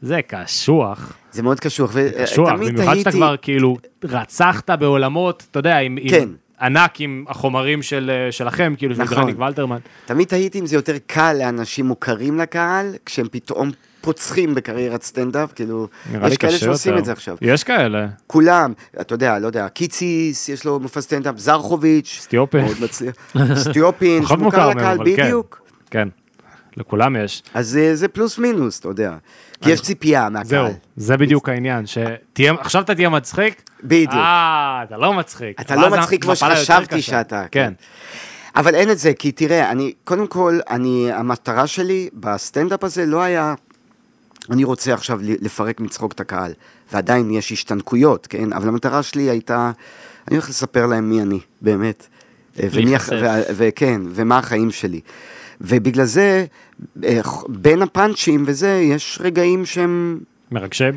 S6: זה קשוח.
S2: זה מאוד קשוח, ותמיד
S6: קשוח,
S2: תהיתי...
S6: במיוחד שאתה כבר כאילו רצחת בעולמות, אתה יודע, עם... עם-
S2: כן.
S6: ענק עם החומרים של, שלכם, כאילו, של
S2: נכון.
S6: גרניק ולטרמן.
S2: תמיד תהיתי אם זה יותר קל לאנשים מוכרים לקהל, כשהם פתאום פוצחים בקריירת סטנדאפ, כאילו,
S6: נראה לי
S2: יש כאלה
S6: קשה
S2: שעושים
S6: יותר.
S2: את זה עכשיו.
S6: יש כאלה.
S2: כולם, אתה יודע, לא יודע, קיציס, יש לו מופע סטנדאפ, זרחוביץ',
S6: סטיופין.
S2: מאוד מצליח, סטיופין,
S6: פחות מוכר
S2: שמוכר
S6: מהם,
S2: לקהל
S6: אבל כן.
S2: בדיוק.
S6: כן. לכולם יש.
S2: אז אה, זה פלוס מינוס, אתה יודע. כי יש ציפייה מהקהל.
S6: זהו,
S2: אה,
S6: זה בדיוק העניין, שתהיה, עכשיו אתה תהיה מצחיק?
S2: בדיוק.
S6: אה, אתה לא מצחיק.
S2: אתה לא
S6: ואז
S2: מצחיק כמו
S6: המפלה יותר
S2: שחשבתי
S6: קשה.
S2: שאתה,
S6: כן.
S2: כן. אבל אין את זה, כי תראה, אני, קודם כל, אני, המטרה שלי בסטנדאפ הזה לא היה, אני רוצה עכשיו ל- לפרק מצחוק את הקהל, ועדיין יש השתנקויות, כן? אבל המטרה שלי הייתה, אני הולך לספר להם מי אני, באמת. אה, ומי, הח-
S7: להיחשף.
S2: ו- וכן, ומה החיים שלי. ובגלל זה, אה, ח- בין הפאנצ'ים וזה, יש רגעים שהם,
S6: מרגשים?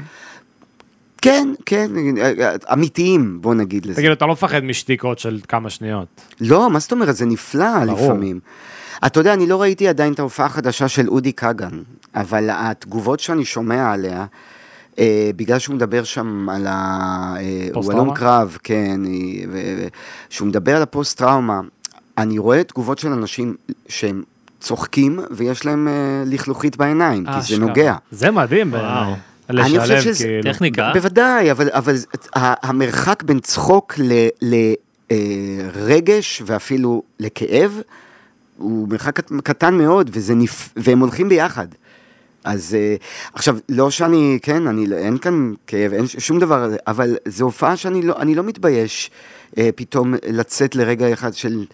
S2: כן, כן, אה, אה, אמיתיים, בוא נגיד לזה.
S6: תגיד, אתה לא מפחד משתיקות של כמה שניות.
S2: לא, מה זאת אומרת? זה נפלא
S6: ברור.
S2: לפעמים. אתה יודע, אני לא ראיתי עדיין את ההופעה החדשה של אודי כגן, אבל התגובות שאני שומע עליה, אה, בגלל שהוא מדבר שם על ה... אה, הוא
S6: פוסט-טראומה?
S2: הלום קרב, כן, אה, ו- ו- שהוא מדבר על הפוסט-טראומה, אני רואה תגובות של אנשים שהם צוחקים ויש להם אה, לכלוכית בעיניים, כי זה
S7: אשכרה.
S2: נוגע.
S6: זה מדהים בעיניי.
S2: אני חושב
S6: לשלב,
S2: שזה-
S6: כאילו.
S7: טכניקה.
S2: בוודאי, אבל, אבל ה- המרחק בין צחוק ל- לרגש ואפילו לכאב, הוא מרחק קט- קטן מאוד, וזה נפ... והם הולכים ביחד. אז אה, עכשיו, לא שאני, כן, אני, לא- אין כאן כאב, אין ש- שום דבר, אבל זו הופעה שאני לא, אני לא מתבייש אה, פתאום לצאת לרגע אחד של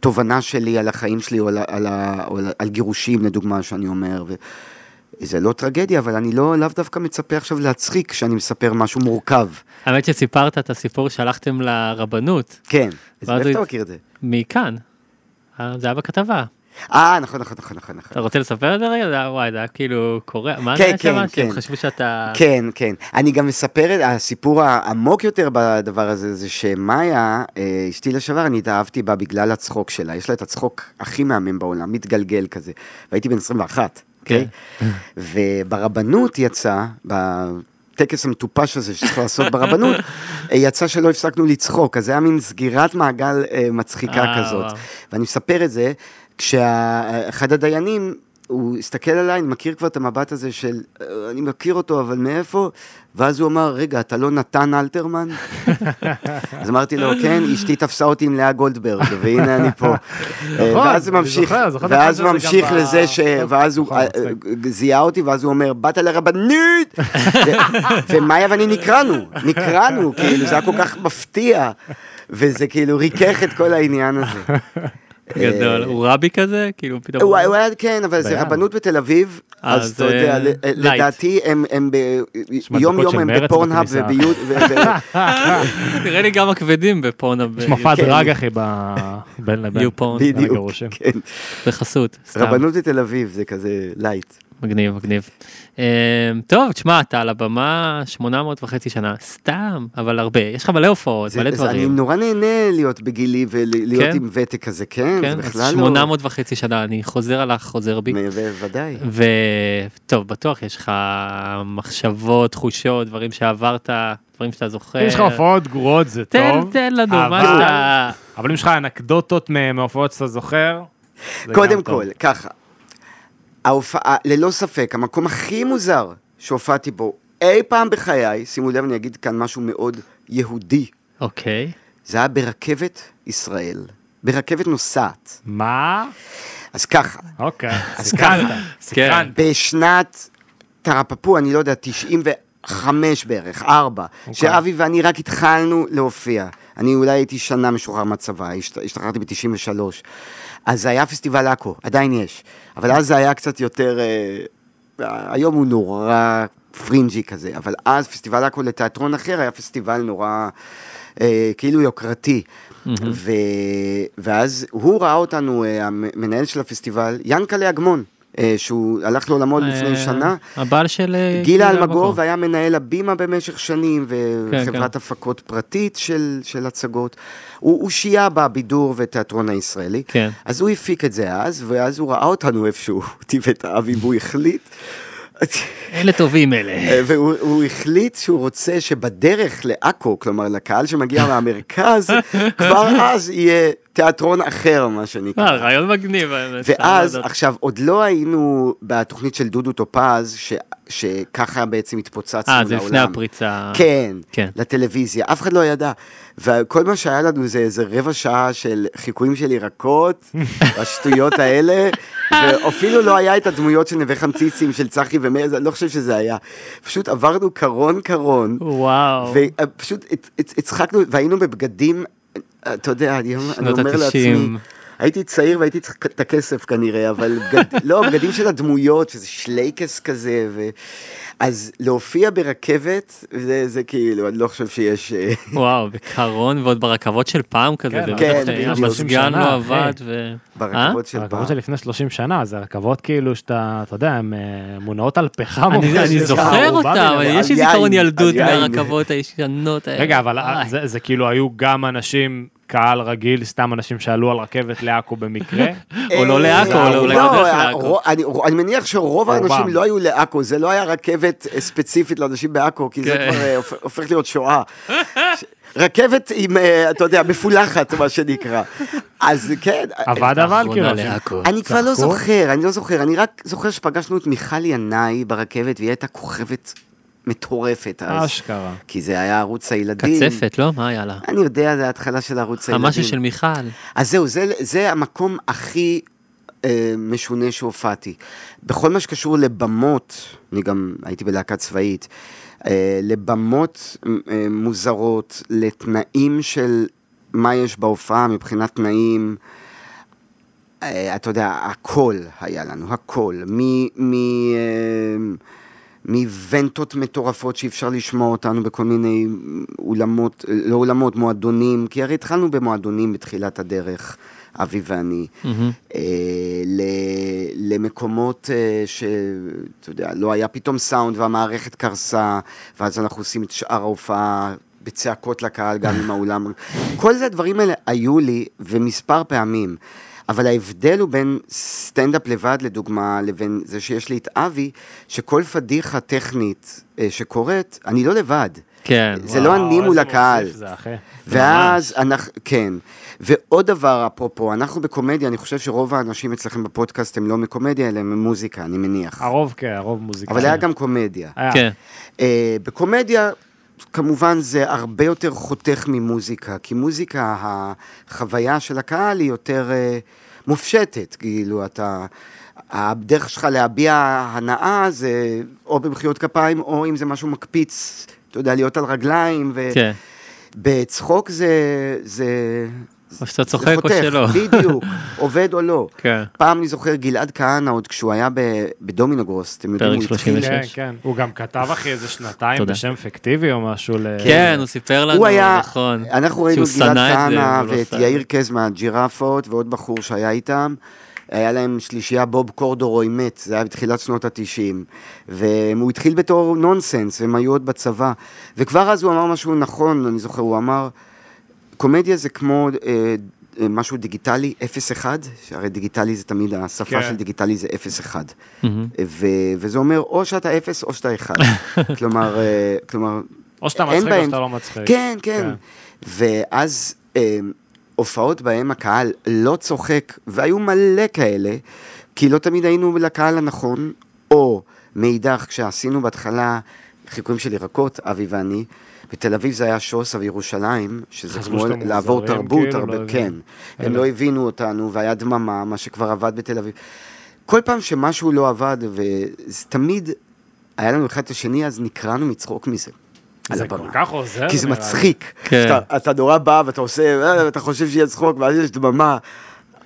S2: תובנה שלי על החיים שלי, או על, ה- על, ה- או על, על גירושים, לדוגמה, שאני אומר. ו... זה לא טרגדיה, אבל אני לא, לאו דווקא מצפה עכשיו להצחיק כשאני מספר משהו מורכב.
S7: האמת שסיפרת את הסיפור שהלכתם לרבנות,
S2: כן, אז
S7: ואז
S2: איך
S7: הוא
S2: אתה
S7: יצ-
S2: מכיר את זה?
S7: מכאן. אה, זה היה בכתבה.
S2: אה, נכון, נכון, נכון, נכון. נכון.
S7: אתה רוצה לספר את זה רגע? זה היה- וואי, זה היה כאילו קורה. מה
S2: כן,
S7: היה
S2: כן,
S7: שם? שהם
S2: כן.
S7: חשבו שאתה...
S2: כן, כן. אני גם מספר, את הסיפור העמוק יותר בדבר הזה, זה שמאיה, אה, אשתי לשעבר, אני התאהבתי בה בגלל הצחוק שלה. יש לה את הצחוק הכי מהמם בעולם, מתגלגל כזה. והייתי בן 21, אוקיי?
S7: כן.
S2: וברבנות יצא, בטקס המטופש הזה שצריך לעשות ברבנות, אה, יצא שלא הפסקנו לצחוק, אז זה היה מין סגירת מעגל אה, מצחיקה
S7: אה,
S2: כזאת.
S7: וואו.
S2: ואני מספר את זה, כשאחד הדיינים, הוא הסתכל עליי, אני מכיר כבר את המבט הזה של, "אה, אני מכיר אותו, אבל מאיפה? ואז הוא אמר, רגע, אתה לא נתן אלתרמן? אז אמרתי לו, כן, אשתי תפסה אותי עם לאה גולדברג, והנה אני פה. אה, ואז זה
S6: נכון, אני
S2: ממשיך,
S6: זוכר, זוכר את הפרק
S2: ואז
S6: הזה גם
S2: ממשיך
S6: ב-
S2: לזה ש...
S6: טוב,
S2: ואז הוא
S6: נכון,
S2: אה,
S6: מצחיק.
S2: אה, זיהה אותי, ואז הוא אומר, באת לרבנית! ו- ומאיה ואני נקרענו, נקרענו, כאילו, זה היה כל כך מפתיע, וזה כאילו ריכך את כל העניין הזה.
S7: גדול. הוא רבי כזה? כאילו פתאום...
S2: אה, הוא הוא היה, כן, אבל זה
S6: בים.
S2: רבנות בתל אביב,
S7: אה,
S2: אז אתה
S7: זה
S2: יודע, ל-
S7: לייט.
S2: לדעתי הם- הם ב-
S6: מדבקות
S2: יום יום
S6: של
S2: הם
S6: מרצ
S2: בפורנהאב
S6: בכניסה.
S2: וביוט, ו- ו-
S7: נראה לי גם הכבדים בפורנו.
S6: יש מופע
S2: כן.
S6: דרג אחי ב- בין לבין.
S7: יו פורן.
S6: בין
S2: בדיוק,
S6: הגירושים.
S2: כן.
S7: בחסות. אוקיי, סתם.
S2: רבנות בתל אביב זה כזה לייט.
S7: מגניב, מגניב. אמ, טוב, תשמע, אתה על הבמה 800 וחצי שנה. סתם, אבל הרבה. יש לך מלא הופעות,
S2: זה-
S7: מלא
S2: אז אני
S7: דברים.
S2: נורא נהנה להיות בגילי ולהיות
S7: כן?
S2: עם ותק כזה, כן, זה
S7: כן,
S2: בכלל
S7: אז
S2: לא...
S7: 800 וחצי שנה, אני חוזר עליך, חוזר בי.
S2: בוודאי.
S7: וטוב, בטוח יש לך מחשבות, תחושות, דברים שעברת, דברים שאתה זוכר.
S6: אם יש לך הופעות גרועות זה
S7: אה, תן,
S6: טוב.
S7: תן לנו, מה
S6: אבל-
S7: שאתה...
S6: אבל אם יש לך אנקדוטות מה- מההופעות שאתה זוכר, זה
S2: קודם
S6: גם טוב.
S2: כל, ככה, ההופעה, ללא ספק, המקום הכי מוזר שהופעתי בו אי פעם בחיי, שימו לב, אני אגיד כאן משהו מאוד יהודי,
S7: אוקיי.
S2: זה היה ברכבת ישראל, ברכבת נוסעת.
S6: מה?
S2: אז ככה,
S6: אוקיי.
S2: אז
S6: סיכנת.
S7: כן.
S6: סיכנת.
S2: בשנת תרפפו, אני לא יודע, 95 בערך, 4, okay. שאבי ואני רק התחלנו להופיע. אני אולי הייתי שנה משוחרר מהצבא, השת- השתחררתי ב-93. אז זה היה פסטיבל עכו, עדיין יש. אבל אז זה היה קצת יותר... אה, היום הוא נורא פרינג'י כזה, אבל אז פסטיבל עכו לתיאטרון אחר היה פסטיבל נורא אה, כאילו יוקרתי. ו... ואז הוא ראה אותנו, אה, המנהל של הפסטיבל, ינקלה אגמון, אה, שהוא הלך לעולמו לפני
S7: אה,
S2: שנה.
S7: הבעל של... אה,
S2: גילה אלמגור,
S7: אלמגור.
S2: והיה מנהל הבימה במשך שנים,
S7: כן,
S2: וחברת הפקות פרטית של, של הצגות. הוא, הוא שייה בבידור ותיאטרון הישראלי.
S7: כן.
S2: אז הוא הפיק את זה אז, ואז הוא ראה אותנו איפשהו, אותי ואת האבי, והוא החליט.
S7: אלה טובים אלה.
S2: אה, והוא הוא החליט שהוא רוצה שבדרך לעכו, כלומר לקהל שמגיע מהמרכז, כבר אז יהיה תיאטרון אחר, מה
S7: אה,
S2: שנקרא.
S7: רעיון מגניב. האמת,
S2: ואז,
S7: צריך להודות.
S2: עכשיו, עוד לא היינו בתוכנית של דודו טופז, ש- שככה בעצם התפוצצנו לעולם.
S7: אה, זה לפני הפריצה.
S2: כן,
S7: כן.
S2: לטלוויזיה, אף אחד לא ידע. וכל מה שהיה לנו זה איזה רבע שעה של חיקויים של ירקות, השטויות האלה, ואפילו לא היה את הדמויות של נווה חמציצים, של צחי ומאיר, זה- אני לא חושב שזה היה. פשוט עברנו קרון קרון,
S7: וואו.
S2: ופשוט אה, הצ- הצ- הצחקנו, והיינו בבגדים, אתה יודע, אני אומר- אני
S7: שנות
S2: אומר לעצמי,
S7: ה-תשעים.
S2: הייתי צעיר והייתי צריך את הכסף כנראה, אבל בגד... לא, בגדים של הדמויות, שזה שלייקס כזה, ו... אז להופיע ברכבת, זה, זה כאילו, אני לא חושב שיש... אה,
S7: וואו, בקרון ועוד ברכבות של פעם כזה,
S6: כן,
S7: זה
S2: כן,
S7: בטח,
S2: בדיוק.
S7: המזגן
S6: שנה,
S7: לא עבד
S6: כן.
S7: ו...
S2: ברכבות של פעם.
S6: הרכבות של לפני 30 שנה, זה רכבות כאילו שאתה, אתה יודע, הן אה, מונעות על פחם.
S7: אני-
S6: ממש,
S7: אני
S6: יש לך
S7: זוכר
S6: ערובה
S7: אותה, אבל
S6: ביניהם.
S7: יש לי
S2: על יין,
S7: זיכרון
S2: על
S7: ילדות
S2: יין.
S7: מהרכבות הישנות האלה.
S6: רגע, אבל
S7: וואי.
S6: זה- זה כאילו היו גם אנשים, קהל רגיל, סתם אנשים שעלו על רכבת לעכו במקרה.
S7: או לא לעכו,
S2: אה,
S7: או אולי
S2: לא,
S7: בדרך
S2: אה,
S7: לעכו.
S2: רוא- אני- רוא- אני מניח שרוב
S6: רובם.
S2: האנשים לא היו לעכו, זה לא היה רכבת אה, ספציפית לאנשים בעכו, כי זה
S7: כן.
S2: כבר אה, הופ- הופך להיות שואה. ש- רכבת עם, אה, אתה יודע, מפולחת, מה שנקרא. אז כן.
S6: עבד אבל, כאילו.
S7: אחרונה
S6: אנשים-
S7: לעכו.
S2: אני כבר לא
S6: צחקו?
S2: זוכר, אני לא זוכר, אני רק זוכר שפגשנו את מיכל ינאי ברכבת, והיא הייתה כוכבת מטורפת אז.
S6: אשכרה.
S2: כי זה היה ערוץ הילדים.
S7: קצפת, לא? מה היה לה?
S2: אני יודע, זה ההתחלה של ערוץ הילדים.
S7: המשהו של מיכל.
S2: אז זהו, זה, זה המקום הכי אה, משונה שהופעתי. בכל מה שקשור לבמות, אני גם הייתי בלהקה צבאית, אה, לבמות אה, מוזרות, לתנאים של מה יש בהופעה מבחינת תנאים. אה, אתה יודע, הכל היה לנו, הכל. מ- מ- אה, מוונטות מטורפות שאי אפשר לשמוע אותנו בכל מיני אולמות, אה, לא אולמות, מועדונים, כי הרי התחלנו במועדונים בתחילת הדרך, אבי ואני, אה, ל- למקומות אה, שאתה יודע, לא היה פתאום סאונד והמערכת קרסה, ואז אנחנו עושים את שאר ההופעה. בצעקות לקהל, גם עם האולם. כל זה הדברים האלה היו לי, ומספר פעמים. אבל ההבדל הוא בין סטנדאפ לבד, לדוגמה, לבין זה שיש לי את אבי, שכל פדיחה טכנית אה, שקורית, אני לא לבד.
S7: כן.
S2: זה לא
S6: וואו,
S2: אני מול
S6: איזה
S2: הקהל.
S6: מוסיף זה, אחי.
S2: ואז אנחנו, כן. ועוד דבר, אפרופו, אנחנו בקומדיה, אני חושב שרוב האנשים אצלכם בפודקאסט הם לא מקומדיה, אלא הם מוזיקה, אני מניח.
S6: הרוב כן, הרוב אה, מוזיקה.
S2: אבל היה גם קומדיה.
S6: היה.
S7: כן.
S2: אה, בקומדיה, כמובן זה הרבה יותר חותך ממוזיקה, כי מוזיקה, החוויה של הקהל היא יותר אה, מופשטת, כאילו אתה... הדרך שלך להביע הנאה זה או במחיאות כפיים, או אם זה משהו מקפיץ, אתה יודע, להיות על רגליים,
S7: כן.
S2: ובצחוק זה... זה...
S7: או שאתה
S2: זה
S7: צוחק או
S2: חותך,
S7: שלא.
S2: בדיוק, עובד או לא.
S7: כן.
S2: פעם אני זוכר גלעד כהנא, עוד כשהוא היה ב- בדומינוגרוס, אתם יודעים,
S7: פרק
S2: הוא התחיל
S7: 36.
S6: כן, כן. הוא גם כתב אחי איזה שנתיים
S7: תודה.
S6: בשם פיקטיבי או משהו. ל-
S7: כן, הוא סיפר לנו,
S2: הוא היה,
S7: נכון.
S2: אנחנו ראינו את
S7: שהוא
S2: גלעד
S7: שנא את זה,
S2: כהנא
S7: והוא לא
S2: ואת
S7: עשה.
S2: יאיר קז מהג'ירפות ועוד בחור שהיה איתם. היה להם שלישייה בוב קורדורוי מת, זה היה בתחילת שנות התשעים. והוא התחיל בתור נונסנס, הם היו עוד בצבא. וכבר אז הוא אמר משהו נכון, אני זוכר, הוא אמר, קומדיה זה כמו אה, אה, משהו דיגיטלי 0-1, שהרי דיגיטלי זה תמיד, השפה
S6: כן.
S2: של דיגיטלי זה 0-1. ו- וזה אומר, או שאתה 0 או שאתה 1. כלומר, אה, כלומר,
S6: או שאתה
S2: אין
S6: מצחיק או
S2: בהם-
S6: שאתה לא מצחיק.
S2: כן, כן.
S6: כן.
S2: ואז אה, הופעות בהן הקהל לא צוחק, והיו מלא כאלה, כי לא תמיד היינו לקהל הנכון, או מאידך, כשעשינו בהתחלה חיקויים של ירקות, אבי ואני, בתל אביב זה היה שוס וירושלים, שזה
S6: חשבו
S2: כמו
S6: שאתם
S2: לעבור
S6: מוזרים,
S2: תרבות,
S6: כאילו,
S2: הרבה,
S6: לא
S2: כן.
S6: הבינו.
S2: הם לא הבינו אותנו, והיה דממה, מה שכבר עבד בתל אביב. כל פעם שמשהו לא עבד, ותמיד היה לנו אחד את השני, אז נקרענו מצחוק מזה. על
S6: זה
S2: הבמה.
S6: כל כך עוזר.
S2: כי זה
S6: נראה לי.
S2: מצחיק.
S7: כן.
S2: שאתה- אתה נורא בא ואתה עושה, "אה, אתה חושב שיהיה צחוק, ואז יש דממה.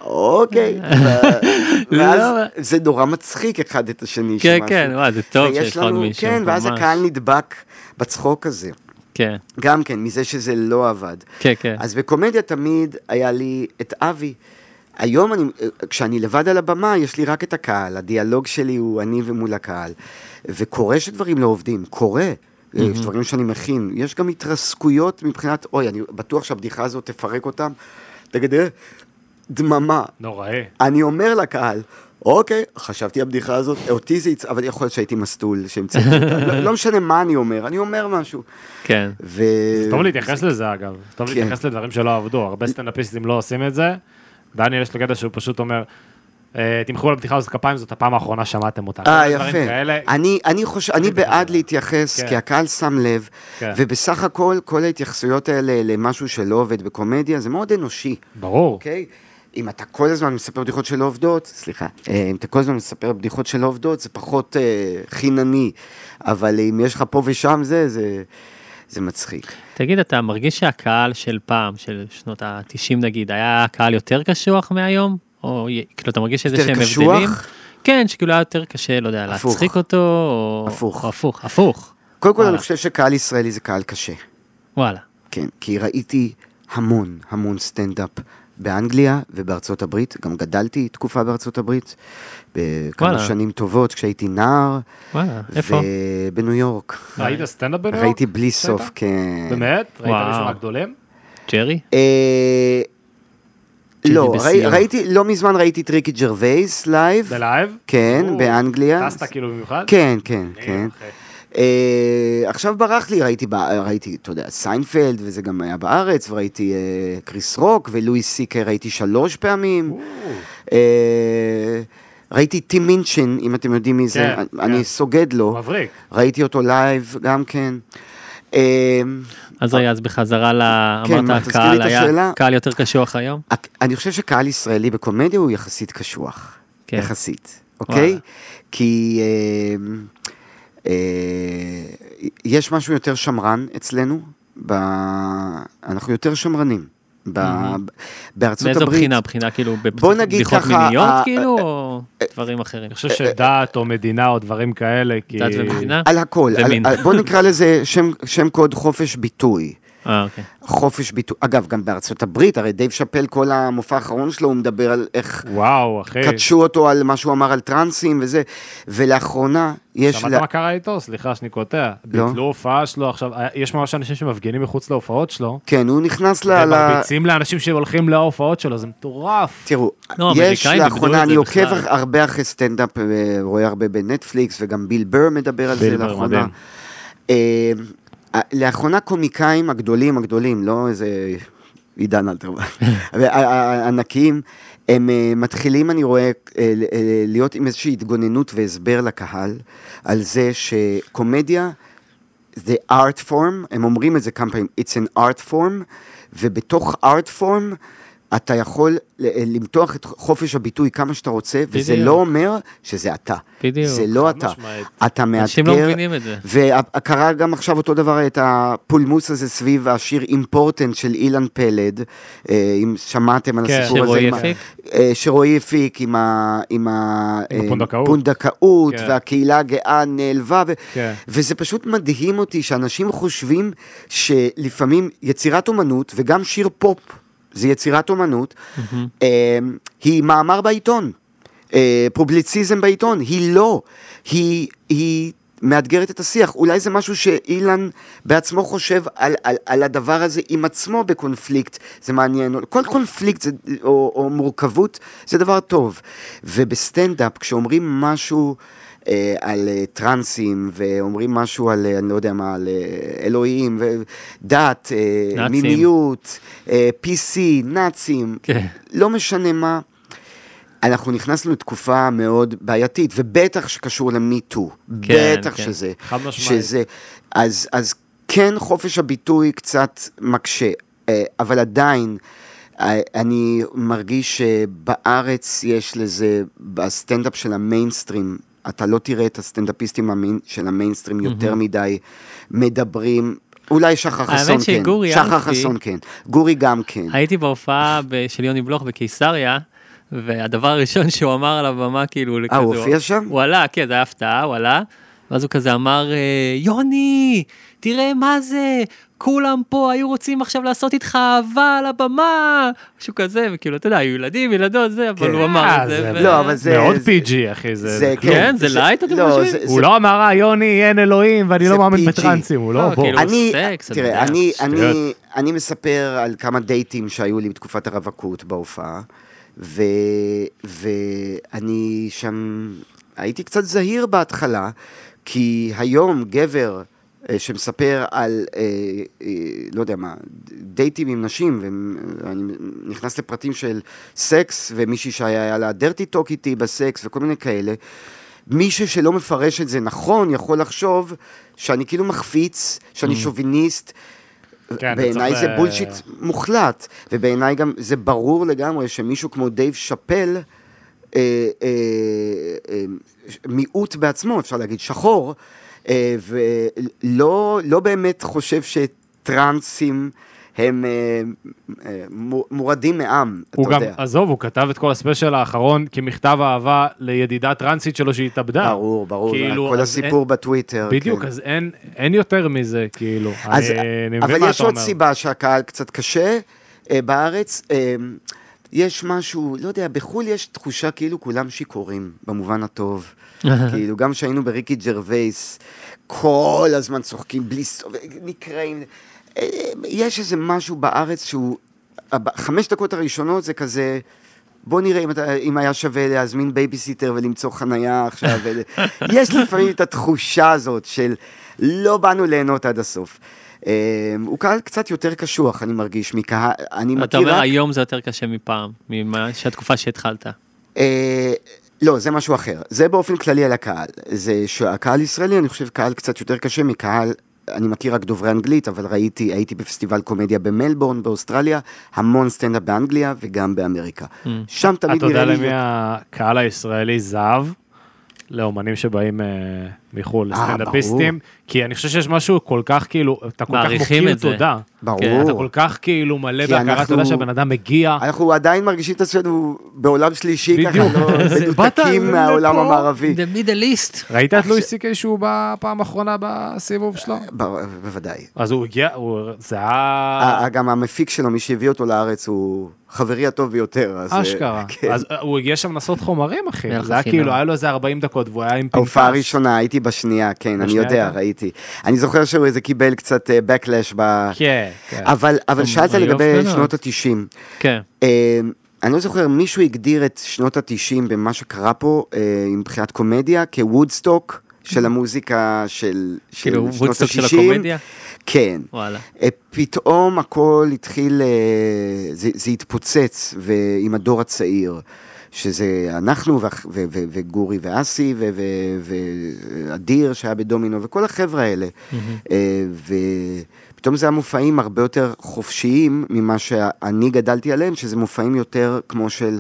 S2: אוקיי. ו-
S7: לא.
S2: ואז זה נורא מצחיק אחד את השני.
S7: כן,
S2: שמשהו-
S7: כן, וואי, זה טוב
S2: ויש
S7: שיש לך עוד
S2: לנו-
S7: מישהו,
S2: כן, ואז
S7: ממש.
S2: הקהל נדבק בצחוק הזה.
S7: כן,
S2: גם כן, מזה שזה לא עבד.
S7: כן, כן.
S2: אז בקומדיה תמיד היה לי את אבי. היום, אני, כשאני לבד על הבמה, יש לי רק את הקהל, הדיאלוג שלי הוא אני ומול הקהל. וקורה שדברים לא עובדים, קורה. יש דברים שאני מכין, יש גם התרסקויות מבחינת, אוי, אני בטוח שהבדיחה הזאת תפרק אותם. תגיד, "אה, דממה.
S6: נוראי.
S2: אני אומר לקהל, אוקיי, חשבתי הבדיחה הזאת, אותי זה יצא, אבל יכול להיות שהייתי מסטול, שהמצאתי אותה, לא- לא משנה מה אני אומר, אני אומר משהו.
S7: כן.
S2: ו...
S6: טוב להתייחס לזה אגב, טוב
S2: כן.
S6: להתייחס לדברים שלא עבדו, הרבה סטנדאפיסטים לא עושים את זה. דניאל יש לו קטע שהוא פשוט אומר, "אה, תמחאו על הבדיחה הזאת כפיים, זאת הפעם האחרונה שמעתם אותה.
S2: אה,
S6: דברים
S2: יפה.
S6: כאלה,
S2: אני, אני, חוש... אני בעד להתייחס,
S6: כן.
S2: כי הקהל שם לב,
S6: כן.
S2: ובסך הכל, כל ההתייחסויות האלה למשהו שלא עובד בקומדיה, זה מאוד אנושי,
S6: ברור.
S2: אוקיי? אם אתה כל הזמן מספר בדיחות שלא עובדות, סליחה, אה, אם אתה כל הזמן מספר בדיחות שלא עובדות, זה פחות אה, חינני, אבל אם יש לך פה ושם זה, זה, זה מצחיק.
S7: תגיד, אתה מרגיש שהקהל של פעם, של שנות ה-90 נגיד, היה קהל יותר קשוח מהיום? או י- כאילו, אתה מרגיש איזה
S2: יותר
S7: שהם
S2: קשוח?
S7: הבדלים? כן, שכאילו היה יותר קשה, לא יודע,
S2: הפוך.
S7: להצחיק אותו, או...
S2: הפוך.
S7: או הפוך, הפוך.
S2: קודם כל,
S7: וואלה.
S2: אני חושב שקהל ישראלי זה קהל קשה.
S7: וואלה.
S2: כן, כי ראיתי המון, המון סטנדאפ באנגליה ובארצות הברית. גם גדלתי תקופה בארצות הברית, בכמה
S7: וואלה.
S2: שנים טובות כשהייתי נער.
S7: וואלה, איפה?
S2: בניו יורק.
S6: ראית סטנדאפ בניו יורק?
S2: ראיתי בלי סוף,
S6: סטנדאפ?
S2: כן.
S6: באמת? ראית
S7: וואו.
S6: מישהו מהגדולים?
S7: ג'רי?
S2: אה,
S7: שזה
S2: לא,
S7: בשיאו.
S2: ראי- ראיתי, לא מזמן ראיתי טריקי ג'רווייס לייב.
S6: בלייב?
S2: כן,
S6: או,
S2: באנגליה.
S6: טסת כאילו במיוחד? אוקיי.
S2: כן, כן, כן.
S6: אחי.
S2: אה, עכשיו ברח לי, ראיתי, ב- ראיתי, אתה יודע, סיינפלד, וזה גם היה בארץ, וראיתי אה, קריס רוק, ולואי סיקר ראיתי שלוש פעמים. אה, ראיתי טים מינצ'ן, אם אתם יודעים מי זה,
S6: כן,
S2: אני- אני
S6: כן.
S2: סוגד לו.
S6: מבריק.
S2: ראיתי אותו לייב גם כן. אה,
S7: אז רגע, אז בחזרה ל...
S2: כן, מה,
S7: אמרת,
S2: תזכיר לי
S7: הקהל
S2: את
S7: היה
S2: השאלה.
S7: קהל יותר קשוח היום?
S2: הק- אני חושב שקהל ישראלי בקומדיה הוא יחסית קשוח.
S7: כן.
S2: יחסית, אוקיי?
S7: וואלה.
S2: כי אה, אה, יש משהו יותר שמרן אצלנו, ב... אנחנו יותר שמרנים. ב... בארצות
S7: מאיזו
S2: הברית.
S7: בחינה? בחינה כאילו
S2: בוא נגיד
S7: בבדיחות
S2: ככה,
S7: מיניות
S2: ה- אה,
S7: כאילו, או דברים אחרים?
S6: אני חושב שדת או מדינה או דברים כאלה, כי...
S7: דת ומדינה?
S2: אה, על הכל. על,
S7: ומין.
S2: על, בוא נקרא לזה שם, שם קוד חופש ביטוי.
S7: אה, אוקיי.
S2: חופש ביטוי, אגב, גם בארצות הברית, הרי דייב שאפל, כל המופע האחרון שלו, הוא מדבר על איך
S6: וואו, אחי.
S2: קדשו אותו על מה שהוא אמר על טרנסים וזה, ולאחרונה יש...
S6: שמעת
S2: לה-
S6: מה קרה איתו? סליחה שאני קוטע.
S2: לא.
S6: ביטלו הופעה שלו עכשיו, אה, יש ממש אנשים שמפגינים מחוץ להופעות שלו,
S2: כן, הוא נכנס ל... ל-
S6: ומרביצים לאנשים שהולכים להופעות שלו, זה מטורף.
S2: תראו,
S7: לא,
S2: יש
S7: האמריקאים איבדו את
S2: לאחרונה,
S7: זה
S2: אני עוקב
S7: בכלל.
S2: הרבה אחרי סטנדאפ, אה, רואה הרבה בנטפליקס, וגם ביל בר מדבר על
S6: ביל
S2: זה
S6: בר,
S2: לאחרונה.
S6: מדהים.
S2: אה, אה, לאחרונה קומיקאים הגדולים, הגדולים, לא איזה עידן אלתרמן, אבל ה- ה- הענקיים, הם אה, מתחילים, אני רואה, אה, ל- אה, להיות עם איזושהי התגוננות והסבר לקהל, על זה שקומדיה... זה art form, הם אומרים את זה כמה פעמים, it's an art form, ובתוך art form אתה יכול ל- אה, למתוח את חופש הביטוי כמה שאתה רוצה, וזה
S7: בדיוק.
S2: לא אומר שזה אתה.
S7: בדיוק,
S2: זה לא אתה.
S6: משמעית.
S2: אתה מאתגר.
S7: אנשים לא מבינים את זה.
S6: כן.
S2: וקרה גם עכשיו אותו דבר, את הפולמוס הזה סביב השיר אימפורטנט של אילן פלד, אה, אם שמעתם על
S6: כן.
S2: הסיפור הזה.
S7: שרועי
S2: עם ה-
S7: הפיק?
S2: אה, שרועי הפיק עם ה- עם ה-
S6: עם
S2: אה,
S6: הפונדקאות.
S2: פונדקאות,
S6: כן.
S2: והקהילה הגאה נעלבה, ו-
S6: כן.
S2: וזה פשוט מדהים אותי שאנשים חושבים שלפעמים יצירת אומנות, וגם שיר פופ, זה יצירת אומנות, אה, היא מאמר בעיתון, אה, פובליציזם בעיתון, היא לא, היא... היא מאתגרת את השיח, אולי זה משהו שאילן בעצמו חושב על, על, על הדבר הזה עם עצמו בקונפליקט, זה מעניין, כל קונפליקט זה, או, או מורכבות זה דבר טוב, ובסטנדאפ כשאומרים משהו אה, על אה, טרנסים, ואומרים משהו על, אה, אני לא יודע מה, על אה, אלוהים, ו- דת, אה,
S7: נאצים.
S2: מיניות, אה, PC, נאצים,
S7: כן.
S2: לא משנה מה. אנחנו נכנסנו לתקופה מאוד בעייתית, ובטח שקשור למיטו,
S7: כן,
S2: בטח
S7: כן.
S2: שזה.
S6: חד משמעית.
S2: שזה, אז, אז כן חופש הביטוי קצת מקשה, אה, אבל עדיין אה, אני מרגיש שבארץ יש לזה, בסטנדאפ של המיינסטרים, אתה לא תראה את הסטנדאפיסטים המין- של המיינסטרים יותר מדי מדברים. אולי שחר
S7: האמת
S2: חסון כן,
S7: שגורי
S2: שחר
S7: אלפי-
S2: חסון כן, גורי גם כן.
S7: הייתי בהופעה ב- של יוני בלוך בקיסריה, והדבר הראשון שהוא אמר על הבמה, כאילו, כזה,
S2: אה, הוא הופיע שם?
S7: הוא עלה, כן, זה היה הפתעה, הוא עלה, ואז הוא כזה אמר, אה, יוני, תראה מה זה, כולם פה היו רוצים עכשיו לעשות איתך אהבה על הבמה, משהו כזה, וכאילו, אתה יודע, היו ילדים, ילדות, זה, אבל
S2: כן.
S7: הוא אמר
S6: אה,
S7: את זה.
S6: זה-
S7: ו-
S2: לא, אבל זה...
S6: מאוד
S2: זה-
S6: פיג'י, אחי, זה... זה כלום.
S7: כן, זה לייט, אתם
S2: לא,
S7: חושבים?
S2: זה-
S6: הוא
S2: זה-
S6: לא אמר, אה, יוני, אין אלוהים, ואני
S2: זה
S6: לא מאמין
S2: PG.
S6: בטרנסים, הוא
S7: לא,
S6: לא... בוא.
S7: כאילו-
S2: אני,
S7: סקס, אתה יודע,
S2: תראה, אני,
S7: שטויות.
S2: אני, אני מספר על כמה דייטים שהיו לי בתקופת הרווקות בהופעה, ו, ואני שם הייתי קצת זהיר בהתחלה, כי היום גבר אה, שמספר על, אה, אה, לא יודע מה, דייטים עם נשים, ואני נכנס לפרטים של סקס, ומישהי שהיה לה דרטי טוק איתי בסקס וכל מיני כאלה, מישהו שלא מפרש את זה נכון יכול לחשוב שאני כאילו מחפיץ, שאני שוביניסט.
S6: כן,
S2: בעיניי
S6: צריך,
S2: זה
S6: אה,
S2: בולשיט מוחלט, ובעיניי גם זה ברור לגמרי שמישהו כמו דייב שאפל, אה, אה, אה, ש- מיעוט בעצמו, אפשר להגיד, שחור, אה, ולא לא באמת חושב שטרנסים הם אה, אה, מור- מורדים מעם,
S6: הוא
S2: אתה
S6: גם,
S2: יודע.
S6: עזוב, הוא כתב את כל הספיישל האחרון כמכתב אהבה לידידה טרנסית שלו שהתאבדה.
S2: ברור, ברור,
S6: כאילו,
S2: כל
S6: אז
S2: הסיפור בטוויטר.
S6: בדיוק,
S2: כן.
S6: אז אין, אין יותר מזה, כאילו.
S2: אז,
S6: אני, אני מבין
S2: אבל
S6: מה
S2: יש
S6: אתה
S2: עוד
S6: אומר.
S2: סיבה שהקהל קצת קשה אה, בארץ. אה, יש משהו, לא יודע, בחו"ל יש תחושה כאילו כולם שיכורים, במובן הטוב. כאילו, גם כשהיינו בריקי ג'רווייס, כל הזמן צוחקים, בלי סוף, נקרעים. אה, יש איזה משהו בארץ שהוא, הב- חמש דקות הראשונות זה כזה, בוא נראה אם, אתה, אם היה שווה להזמין בייביסיטר ולמצוא חנייה עכשיו. ול- יש לפעמים את התחושה הזאת של לא באנו ליהנות עד הסוף. אה, הוא קהל קצת יותר קשוח, אני מרגיש, מקהל, אני
S7: אתה
S2: מכיר
S7: אומר
S2: רק...
S7: היום זה יותר קשה מפעם, ממה שהתקופה שהתחלת.
S2: אה, לא, זה משהו אחר. זה באופן כללי על הקהל. זה שהקהל ישראלי, אני חושב, קהל קצת יותר קשה מקהל, אני מכיר רק דוברי אנגלית, אבל ראיתי, הייתי בפסטיבל קומדיה במלבורן, באוסטרליה, המון סטנדאפ באנגליה וגם באמריקה.
S7: Mm.
S2: שם תמיד
S6: אתה יודע
S2: נראה לי...
S6: למי הקהל הישראלי זהב? לאומנים שבאים אה, מחו"ל,
S2: אה,
S6: לסטנדאפיסטים, כי אני חושב שיש משהו כל כך כאילו, אתה כל כך
S7: מעריכים
S6: מוקיר
S7: את זה.
S6: תודה.
S7: כן,
S6: אתה
S2: ברור.
S6: כל כך כאילו מלא
S2: כי
S6: בהכרת
S2: אנחנו-
S6: תודה שהבן אדם מגיע.
S2: אנחנו עדיין מרגישים את עצמנו בעולם שלישי, ככה,
S6: בדיוק.
S2: לא
S6: זה- באת
S2: מנותקים מהעולם
S6: לפה,
S2: המערבי.
S7: מידל איסט.
S6: ראית את לואי סי קיי שהוא בא פעם האחרונה בסיבוב
S2: אה,
S6: שלו?
S2: ב- בוודאי.
S6: אז הוא הגיע, הוא- זה היה...
S2: ה- גם המפיק שלו, מי שהביא אותו לארץ, הוא חברי הטוב ביותר. אז, אה,
S6: אשכרה.
S2: כן.
S6: אז אה, הוא הגיע שם לעשות חומרים, אחי.
S7: מלך
S6: זה היה
S7: החינם.
S6: כאילו, היה לו איזה 40 דקות, והוא היה עם פנקס.
S2: ההופעה הראשונה, הייתי בשנייה, כן, אני
S6: בשנייה
S2: יודע,
S6: הייתה?
S2: ראיתי. אני זוכר שהוא איזה קיבל קצת אה, backlash ב...
S6: כן, כן.
S2: אבל אבל
S7: טוב,
S2: שאלת
S7: היו
S2: לגבי
S7: הפגנות.
S2: שנות התשעים.
S7: כן.
S2: אה, אני לא זוכר, מישהו הגדיר את שנות התשעים במה שקרה פה, אה, מבחינת קומדיה, כוודסטוק של המוזיקה של של
S7: כאילו,
S2: שנות
S7: וודסטוק של
S2: השישים.
S7: הקומדיה?
S2: כן.
S7: וואלה.
S2: אה, פתאום הכל התחיל, אה, זה, זה התפוצץ ו- עם הדור הצעיר, שזה אנחנו ואח- ו- ו- וגורי ואסי ו- ו- ואדיר שהיה בדומינו וכל החבר'ה האלה. אה, ופתאום זה היה מופעים הרבה יותר חופשיים ממה שאני גדלתי עליהם, שזה מופעים יותר כמו של...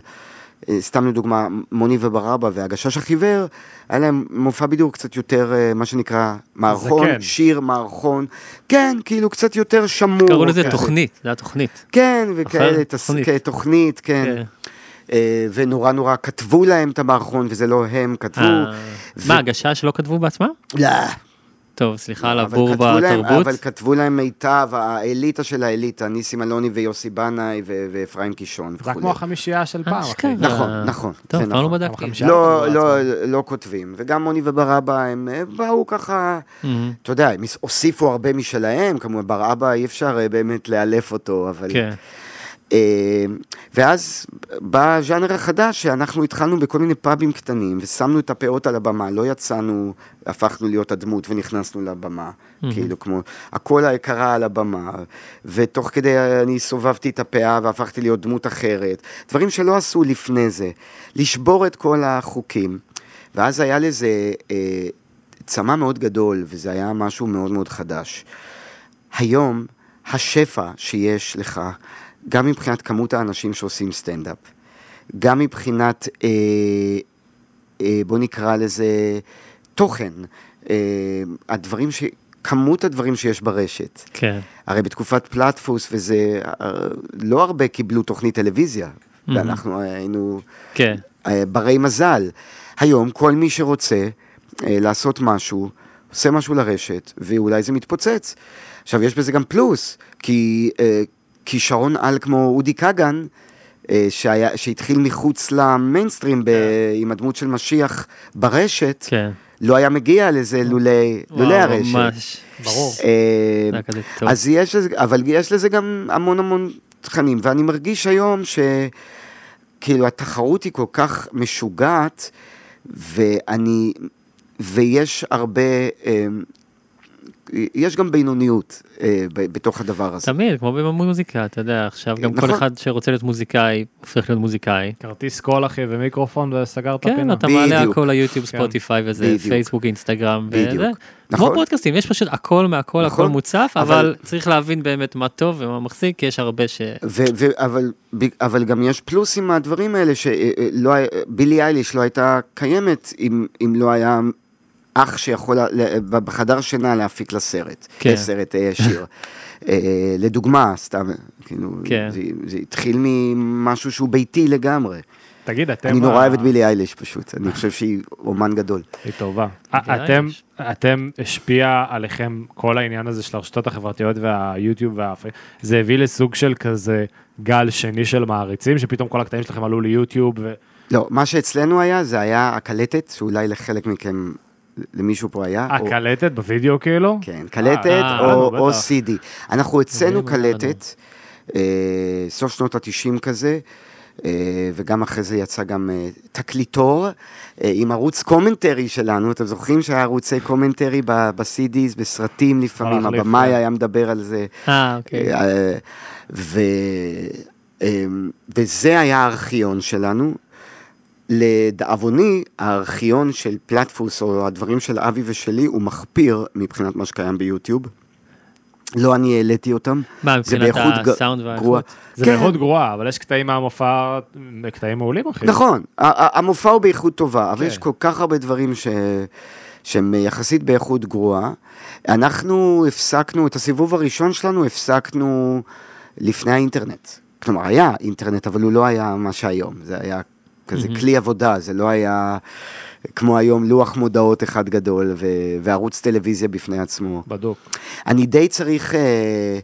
S2: אה, סתם לדוגמה, מוני וברבא והגשש החיוור, היה להם מופע בידור קצת יותר, אה, מה שנקרא, מערכון,
S6: זקן.
S2: שיר, מערכון, כן, כאילו קצת יותר שמור.
S7: קראו לזה
S2: כזה.
S7: תוכנית, זה היה תוכנית.
S2: כן, וכאלה,
S7: אחרת,
S2: תס...
S7: תוכנית.
S2: כן, תוכנית, כן.
S7: כן.
S2: אה, ונורא נורא כתבו להם את המערכון, וזה לא הם כתבו.
S7: אה, מה, הגשה שלא כתבו בעצמם?
S2: לא.
S7: טוב, סליחה על
S2: אבל
S7: הבור
S2: כתבו להם-
S7: בתרבות.
S2: אבל כתבו להם מיטב, האליטה של האליטה, ניסים אלוני ויוסי בנאי ו- ואפרים קישון
S6: זה היה
S2: וכולי.
S6: כמו החמישייה של
S7: אה,
S6: פעם, אחי.
S7: אשכרה.
S2: נכון, נכון,
S7: טוב,
S2: זה
S7: אף פעם לא
S2: נכון.
S7: בדקתי.
S6: החמישה.
S2: לא,
S6: שער
S2: לא,
S6: בעצמם.
S2: לא כותבים, וגם מוני וברבא הם אה, באו ככה,
S7: Mm-hmm.
S2: אתה יודע, הם הוסיפו הרבה משלהם, כמובן ברבא אי אפשר אה, באמת לאלף אותו, אבל...
S7: כן.
S2: אה, ואז בא הז'אנר החדש, שאנחנו התחלנו בכל מיני פאבים קטנים, ושמנו את הפאות על הבמה, לא יצאנו, הפכנו להיות הדמות ונכנסנו לבמה, כאילו כמו, הכל קרה על הבמה, ותוך כדי אני סובבתי את הפאה והפכתי להיות דמות אחרת, דברים שלא עשו לפני זה, לשבור את כל החוקים. ואז היה לזה אה, צמא מאוד גדול, וזה היה משהו מאוד מאוד חדש. היום, השפע שיש לך, גם מבחינת כמות האנשים שעושים סטנדאפ, גם מבחינת, אה, אה, בוא נקרא לזה, תוכן, אה, הדברים ש... כמות הדברים שיש ברשת.
S7: כן.
S2: הרי בתקופת פלטפוס וזה, אה, לא הרבה קיבלו תוכנית טלוויזיה, ואנחנו היינו
S7: כן.
S2: אה, ברי מזל. היום כל מי שרוצה אה, לעשות משהו, עושה משהו לרשת, ואולי זה מתפוצץ. עכשיו, יש בזה גם פלוס, כי אה, כישרון על כמו אודי כגן, אה, שהיה, שהתחיל מחוץ למיינסטרים ב, עם הדמות של משיח ברשת,
S7: כן.
S2: לא היה מגיע לזה לולי, לולי
S7: וואו,
S2: הרשת.
S7: ממש.
S6: ברור.
S2: אה,
S7: זה היה כזה טוב.
S2: אז יש לזה, אבל יש לזה גם המון המון תכנים, ואני מרגיש היום ש... כאילו התחרות היא כל כך משוגעת, ואני, ויש הרבה, אה, יש גם בינוניות אה, ב- בתוך הדבר הזה.
S7: תמיד, כמו במוזיקה, אתה יודע, עכשיו גם
S2: נכון.
S7: כל אחד שרוצה להיות מוזיקאי, הופך להיות מוזיקאי.
S6: כרטיס קול אחי ומיקרופון וסגר את
S7: כן,
S6: הפינה.
S7: אתה מעלה
S2: בדיוק.
S7: הכל ליוטיוב,
S6: אוקיי, נכון. כן.
S7: ספוטיפיי וזה,
S2: בדיוק.
S7: פייסבוק, אינסטגרם וזה.
S2: בדיוק.
S7: כמו
S2: נכון?
S7: פודקאסטים, יש פשוט הכל מהכל, הכל
S2: נכון.
S7: מוצף, אבל
S2: אבל-
S7: צריך להבין באמת מה טוב ומה מחזיק, כי יש הרבה ש...
S2: ו- ו- אבל, ב- אבל גם יש פלוסים מהדברים האלה, אה, שבילי אייליש לא הייתה קיימת אם, אם לא היה אח שיכול לה- לה- ב- בחדר שינה להפיק לה סרט,
S7: כן.
S2: כן. סרט אה, שיר. אה, לדוגמה, סתם, כאילו,
S7: כן.
S2: זה, זה התחיל ממשהו שהוא ביתי לגמרי.
S6: תגיד, אתם...
S2: אני נורא
S6: ה-
S2: אוהב את בילי אייליש פשוט, אני חושב שהיא אומן גדול.
S6: היא טובה. אה,
S7: אוקיי,
S6: אתם,
S7: יש.
S6: אתם השפיע עליכם כל העניין הזה של הרשתות החברתיות והיוטיוב והפי... זה הביא לסוג של כזה גל שני של מעריצים, שפתאום כל הקטעים שלכם עלו ליוטיוב, ו...
S2: לא, מה שאצלנו היה, זה היה הקלטת, שאולי לחלק מכם, למישהו פה היה. או-
S6: הקלטת בווידאו כאילו?
S2: כן, קלטת
S7: אה,
S2: או,
S6: בטח.
S2: או CD. אנחנו הוצאנו
S7: אומרים אותנו.
S2: קלטת, אה, סוף שנות ה-90 כזה, אה, וגם אחרי זה יצא גם אה, תקליטור, אה, עם ערוץ קומנטרי שלנו, אתם זוכרים שהיה ערוצי קומנטרי ב- ב-CDs, בסרטים לפעמים,
S6: להחליף,
S2: הבמאי
S6: כן.
S2: היה מדבר על זה.
S7: אה, אוקיי.
S2: אה, ו... אה, וזה היה הארכיון שלנו. לדאבוני, הארכיון של פלטפוס, או הדברים של אבי ושלי, הוא מחפיר מבחינת מה שקיים ביוטיוב. לא אני העליתי אותם.
S7: מה,
S2: זה
S7: מבחינת
S2: באיכות ג-
S7: הסאונד
S2: גרועה.
S7: והאיכות?
S6: זה
S2: כן,
S6: מאוד גרוע, אבל יש קטעים מהמופע, קטעים מעולים אחי.
S2: נכון, ה- ה- המופע הוא באיכות טובה, אבל
S6: כן.
S2: יש כל כך הרבה דברים ש... שהם יחסית באיכות גרועה. אנחנו הפסקנו, את הסיבוב הראשון שלנו הפסקנו לפני האינטרנט. כלומר, היה אינטרנט, אבל הוא לא היה מה שהיום. זה היה כזה כלי עבודה, זה לא היה כמו היום לוח מודעות אחד גדול ו... וערוץ טלוויזיה בפני עצמו.
S6: בדוק.
S2: אני די צריך אה, אה,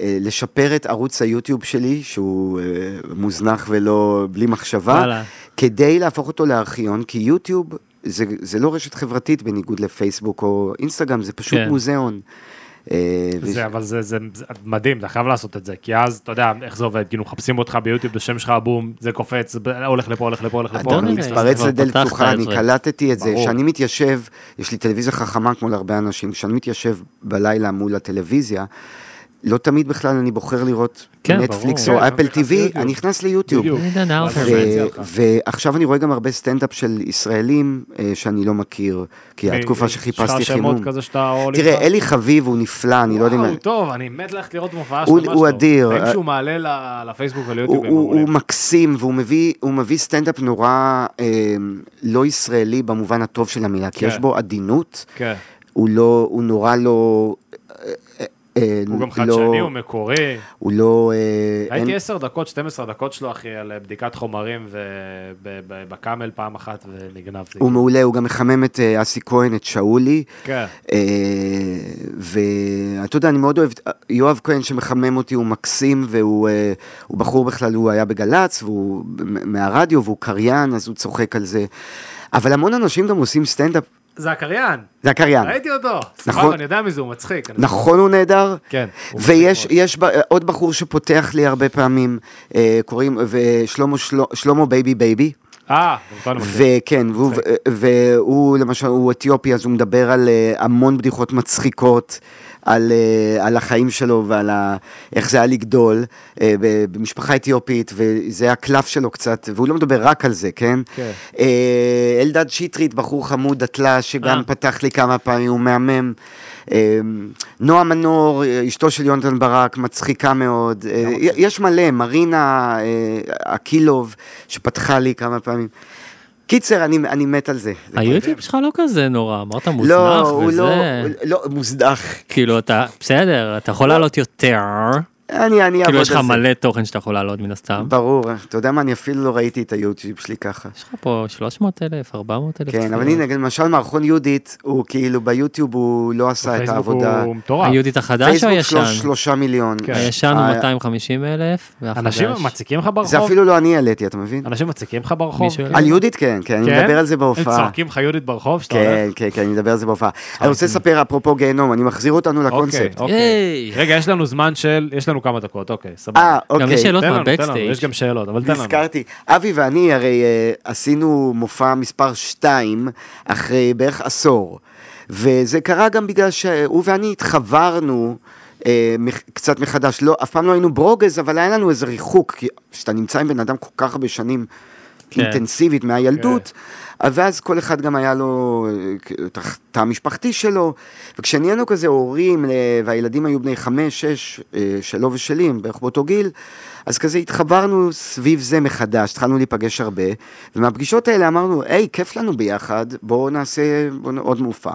S2: אה, לשפר את ערוץ היוטיוב שלי, שהוא אה, מוזנח ולא, בלי מחשבה,
S7: וואלה.
S2: כדי להפוך אותו לארכיון, כי יוטיוב זה, זה לא רשת חברתית בניגוד לפייסבוק או אינסטגרם, זה פשוט
S7: כן.
S2: כן. מוזיאון. אה,
S6: זה, אבל זה, זה, זה מדהים, אתה חייב לעשות את זה, כי אז אתה יודע איך זה עובד, כאילו מחפשים אותך ביוטיוב בשם שלך, בום, זה קופץ, ב- הולך לפה, הולך לפה, הולך לפה.
S7: בוא
S2: אתה
S7: נראה,
S2: מתפרץ
S7: כבר
S2: לדלת
S7: פתחת
S2: פתוחה,
S7: את
S2: אני
S7: זה.
S2: קלטתי את זה.
S6: ברור.
S2: כשאני מתיישב, יש לי טלוויזיה חכמה כמו להרבה אנשים, כשאני מתיישב בלילה מול הטלוויזיה, לא תמיד בכלל אני בוחר לראות
S7: כן, אה, אוקיי.
S2: נטפליקס
S6: ברור.
S2: או
S6: כן,
S2: אפל
S6: אתה נכנס
S2: טיווי,
S6: ליוטיוב.
S2: אני נכנס ליוטיוב.
S6: בדיוק.
S7: אני יודע,
S6: אז
S7: נאופר.
S6: זה
S2: ו-
S6: יציע לך.
S2: ועכשיו אני רואה גם הרבה סטנדאפ של ישראלים אה, שאני לא מכיר, כי התקופה
S6: אה, יש
S2: שחיפשתי
S6: לך שמות
S2: חימום.
S6: כזה שאתה... אה, או לקראת-
S2: תראה, אלי חביב הוא נפלא, אני לא יודע אם...
S6: וואו, טוב, אני מת ללכת לראות מופעה
S2: הוא-
S6: שלמה שלו.
S2: הוא אדיר.
S6: אם שהוא מעלה ל- לפייסבוק וליוטיוב,
S2: הוא,
S6: הם
S2: הוא, הוא
S6: מעולים.
S2: מקסים והוא מביא, הוא מביא סטנדאפ נורא אה, לא ישראלי במובן הטוב של המילה, כי
S6: כן.
S2: יש בו עדינות,
S6: כן.
S2: הוא לא, הוא נורא לא... אה, אה,
S6: הוא גם
S2: לא,
S6: חדשני, הוא מקורי.
S2: הוא לא... אה,
S6: הייתי
S2: אין-
S6: 10 דקות, 12 דקות שלו, אחי, על בדיקת חומרים ו- ב- ב- בקאמל פעם אחת ונגנבתי.
S2: הוא מעולה, הוא גם מחמם את אה, אסי כהן, את שאולי.
S6: כן.
S2: אה, ואתה יודע, אני מאוד אוהב, יואב כהן שמחמם אותי, הוא מקסים, והוא אה, הוא בחור בכלל, הוא היה בגל"צ, והוא מ- מהרדיו, והוא קריין, אז הוא צוחק על זה. אבל המון אנשים גם עושים סטנדאפ,
S6: זה הקריין,
S2: זה הקריין.
S6: ראיתי אותו. סבבה,
S2: כן. נכון.
S6: אני יודע מי זה, הוא מצחיק. אני-
S2: נכון הוא נהדר?
S6: כן, הוא
S2: ויש
S6: מצחיק
S2: יש ב- אה, עוד בחור שפותח לי הרבה פעמים, אה, קוראים, ושלמה שלו- שלמה בייבי בייבי.
S6: אה, אותו אני מכיר.
S2: וכן, והוא, והוא למשל, הוא אתיופי, אז הוא מדבר על אה, המון בדיחות מצחיקות, על, אה, על החיים שלו ועל ה, איך זה היה לגדול אה, ב- במשפחה אתיופית, וזה הקלף שלו קצת, והוא לא מדבר רק על זה, כן?
S6: כן.
S2: אה, אלדד שטרית, בחור חמוד, דתלה, שגם
S7: אה.
S2: פתח לי כמה פעמים, הוא מהמם. אה, נועה מנור, אה, אשתו של יונתן ברק, מצחיקה מאוד. אה, יש מלא, מרינה אה, אקילוב, שפתחה לי כמה פעמים. קיצר, אני, אני מת על זה. זה
S7: היוטיוב שלך לא כזה נורא, אמרת
S2: כבר- לא,
S7: מוזנח
S2: הוא לא,
S7: וזה.
S2: הוא לא, מוזנח.
S7: כאילו אתה, בסדר, אתה יכול לעלות יותר.
S2: אני, אני אעבוד
S7: כאילו
S2: על
S7: יש
S2: זה.
S7: לך מלא אה? תוכן שאתה יכול לעלות מן הסתם.
S2: ברור, אתה יודע מה, אני אפילו לא ראיתי את היוטיוב שלי ככה.
S7: יש לך פה 300 אלף, 400 אלף.
S2: כן, אבל הנה, למשל מערכון יהודית, הוא כאילו ביוטיוב הוא לא עשה את
S6: פייסבוק
S2: העבודה.
S6: הוא מטורף.
S7: היהודית החדש או
S2: פייסבוק שלוש-
S7: הישן?
S2: שלושה מיליון.
S6: כן.
S7: הישן הוא
S2: אה,
S7: 250 אלף, והחדש.
S6: אנשים מציקים לך ברחוב?
S2: זה אפילו לא אני העליתי, אתה מבין?
S6: אנשים מציקים לך ברחוב?
S7: מישהו-
S2: על יהודית כן, כן, אני
S6: כן?
S2: מדבר על זה
S6: הם
S2: בהופעה.
S6: צועקים לך יהודית ברחוב? שאתה
S2: כן,
S6: הולך?
S2: כן, כן, אני מדבר על זה בהופעה. אני רוצה לספר אפרופו גיהנום, אני מחזיר אותנו
S6: אוקיי,
S2: לקונספט.
S6: אוקיי.
S7: היי.
S6: רגע, יש לנו זמן של, יש לנו כמה דקות, אוקיי, סבבה.
S2: אה, אוקיי.
S7: גם יש שאלות
S6: תן לנו, תן לנו,
S7: מהבקסטייג'.
S6: יש גם שאלות, אבל תן לנו.
S2: נזכרתי, אבי ואני הרי אה, עשינו מופע מספר 2 אחרי בערך עשור, וזה קרה גם בגלל שהוא ואני התחברנו אה, מח- קצת מחדש, לא, אף פעם לא היינו ברוגז, אבל היה לנו איזה ריחוק, כי כשאתה נמצא עם בן אדם כל כך הרבה שנים
S6: כן.
S2: אינטנסיבית מהילדות, ואז כל אחד גם היה לו אה, את הח- התא המשפחתי שלו, וכשנהיינו כזה הורים, אה, והילדים היו בני חמש, שש, אה, שלו ושלי, הם בערך באותו גיל, אז כזה התחברנו סביב זה מחדש, התחלנו להיפגש הרבה, ומהפגישות האלה אמרנו, היי, כיף לנו ביחד, בואו נעשה בואו נ- עוד מופע.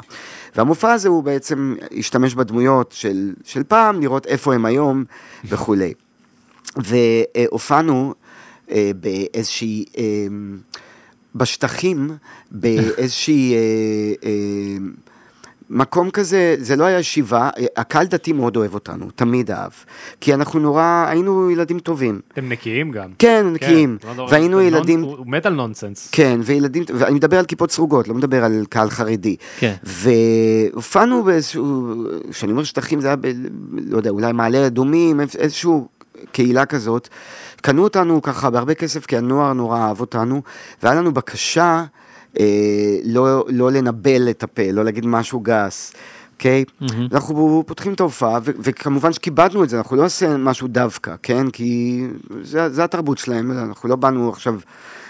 S2: והמופע הזה הוא בעצם השתמש בדמויות של, של פעם, לראות איפה הם היום וכולי. והופענו אה, באיזושהי, אה, בשטחים, באיזושהי... אה, אה, מקום כזה, זה לא היה ישיבה, אה, הקהל דתי מאוד אוהב אותנו, תמיד אהב. כי אנחנו נורא, היינו ילדים טובים.
S6: אתם נקיים גם.
S2: כן, נקיים.
S6: לא יודע,
S2: והיינו
S6: זה
S2: ילדים-
S6: נונס- הוא הוא מת על נונסנס.
S2: כן, וילדים, ואני מדבר על כיפות סרוגות, לא מדבר על קהל חרדי.
S7: כן.
S2: והופענו באיזשהו, כשאני אומר שטחים זה היה, ב, לא יודע, אולי מעלה אדומים, איפ- איזשהו קהילה כזאת. קנו אותנו ככה בהרבה כסף, כי הנוער נורא אהב אותנו, והיה לנו בקשה אה, לא, לא לנבל את הפה, לא להגיד משהו גס. אוקיי? Okay? Mm-hmm. אנחנו פותחים את ההופעה, ו- וכמובן שכיבדנו את זה, אנחנו לא עושים משהו דווקא, כן? כי זה, זה התרבות שלהם, אנחנו לא באנו עכשיו,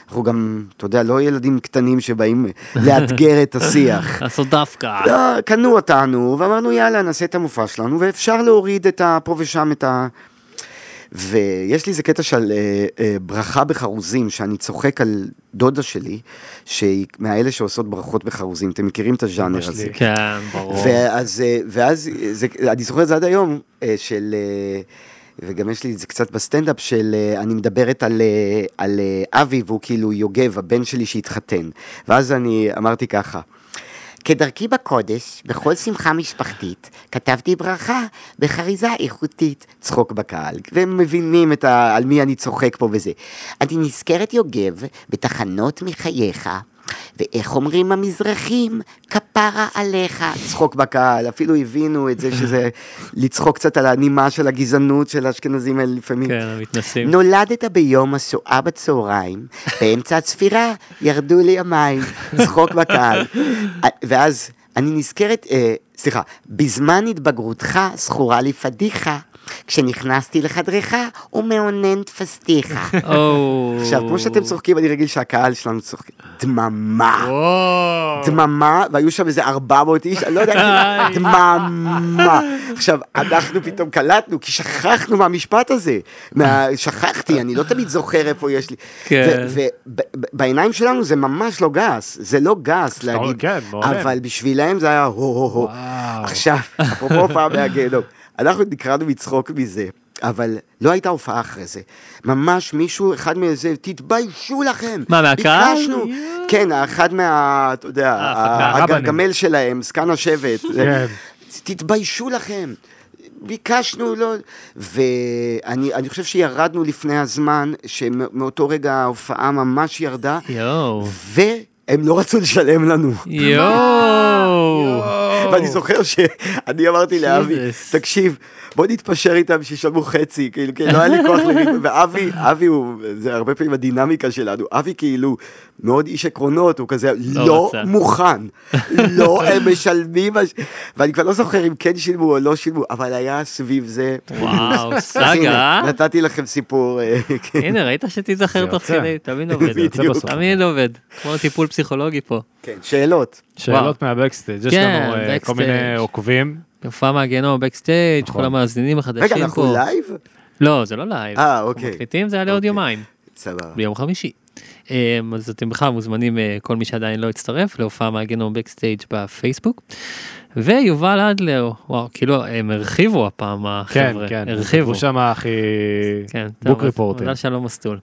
S2: אנחנו גם, אתה יודע, לא ילדים קטנים שבאים לאתגר את השיח.
S7: לעשות דווקא.
S2: לא, קנו אותנו, ואמרנו יאללה, נעשה את המופע שלנו, ואפשר להוריד את ה... פה ושם את ה... ויש לי איזה קטע של אה, אה, ברכה בחרוזים, שאני צוחק על דודה שלי, שהיא מאלה שעושות ברכות בחרוזים, אתם מכירים את הז'אנר הזה.
S6: שלי.
S7: כן, ברור.
S2: ואז, אה, ואז אה, זה, אני זוכר את זה עד היום, אה, של, אה, וגם יש לי את זה קצת בסטנדאפ, של אה, אני מדברת על, אה, על אה, אבי והוא כאילו יוגב, הבן שלי שהתחתן. ואז אני אמרתי ככה. כדרכי בקודש, בכל שמחה משפחתית, כתבתי ברכה בחריזה איכותית, צחוק בקהל, והם מבינים את ה... על מי אני צוחק פה וזה. אני נזכרת יוגב בתחנות מחייך, ואיך אומרים המזרחים, כפרה עליך, צחוק בקהל, אפילו הבינו את זה שזה לצחוק קצת על הנימה של הגזענות של האשכנזים האלה לפעמים.
S7: כן, המתנסים.
S2: נולדת ביום השואה בצהריים, באמצע הצפירה ירדו לי המים, צחוק בקהל. ואז אני נזכרת, אה, סליחה, בזמן התבגרותך זכורה לי פדיחה, כשנכנסתי לחדרך ומאונן תפסתיך.
S7: או.
S2: עכשיו, כמו שאתם צוחקים, אני רגיל שהקהל שלנו צוחק, דממה.
S6: וואו.
S2: דממה, והיו שם איזה 400 איש, אני לא יודע, כאילו, דממה. עכשיו, אנחנו פתאום קלטנו, כי שכחנו מהמשפט הזה. מה- שכחתי, אני לא תמיד זוכר איפה יש לי.
S7: כן.
S2: ובעיניים שלנו זה ממש לא גס, זה לא גס להגיד,
S6: כן, מעולם.
S2: אבל בשבילהם זה היה הו-הו-הו. עכשיו, אפרופו הופעה מהגיהנום, אנחנו נקרענו מצחוק מזה. אבל לא הייתה הופעה אחרי זה. ממש מישהו, אחד מאיזה, תתביישו לכם.
S7: מה, מהקהל?
S2: ביקשנו. כן, אחד מה... אתה יודע,
S6: אה, מהרבנים.
S2: הגרגמל שלהם, זקן השבט.
S6: כן.
S2: תתביישו לכם. ביקשנו, לא... ואני אני חושב שירדנו לפני הזמן, שמאותו רגע ההופעה ממש ירדה,
S7: יואו.
S2: והם לא רצו לשלם לנו.
S7: יואו.
S2: ואני זוכר שאני אמרתי לאבי,
S7: Jesus.
S2: תקשיב, בוא נתפשר איתם שישלמו חצי, כאילו, כי לא היה לי כוח לריב, ואבי, אבי הוא, זה הרבה פעמים הדינמיקה שלנו, אבי כאילו, מאוד איש עקרונות, הוא כזה,
S7: לא
S2: לא
S7: רוצה."
S2: מוכן, לא, הם משלמים, מה ש- ואני כבר לא זוכר אם כן שילמו או לא שילמו, אבל היה סביב זה.
S7: וואו,
S2: אז
S7: סאגה.
S2: הנה,
S7: אה?
S2: נתתי לכם סיפור, אה, כן.
S7: הנה, ראית שתיזכר
S6: זה
S7: תוך
S6: יוצא.
S7: כדי, תמיד
S6: זה
S7: עובד.
S6: יוצא בסוף.
S7: תמיד עובד. כמו טיפול פסיכולוגי פה.
S2: כן, שאלות.
S6: שאלות מהבקסטייג', יש
S7: כן,
S6: לנו אה, כל
S7: backstage.
S6: מיני עוקבים.
S7: הופעה מהגיהנום בקסטייג', כל המאזינים החדשים פה.
S2: נכון. רגע, אנחנו לייב?
S7: לא, זה לא לייב.
S2: אה,
S7: אנחנו
S2: אוקיי.
S7: מקליטים, זה היה לעוד
S2: אוקיי.
S7: יומיים,
S2: סבבה.
S7: ביום חמישי. אה, אז אתם בכלל מוזמנים, אה, כל מי שעדיין לא הצטרף, להופעה מהגנום בקסטייג' בפייסבוק. ויובל אדלר, וואו, כאילו, הם הרחיבו הפעם,
S6: כן,
S7: החבר'ה.
S6: כן.
S7: הרחיבו.
S6: הוא שם הכי...
S7: כן,
S6: בוק ריפורטר.
S7: מזל שלא מסטול.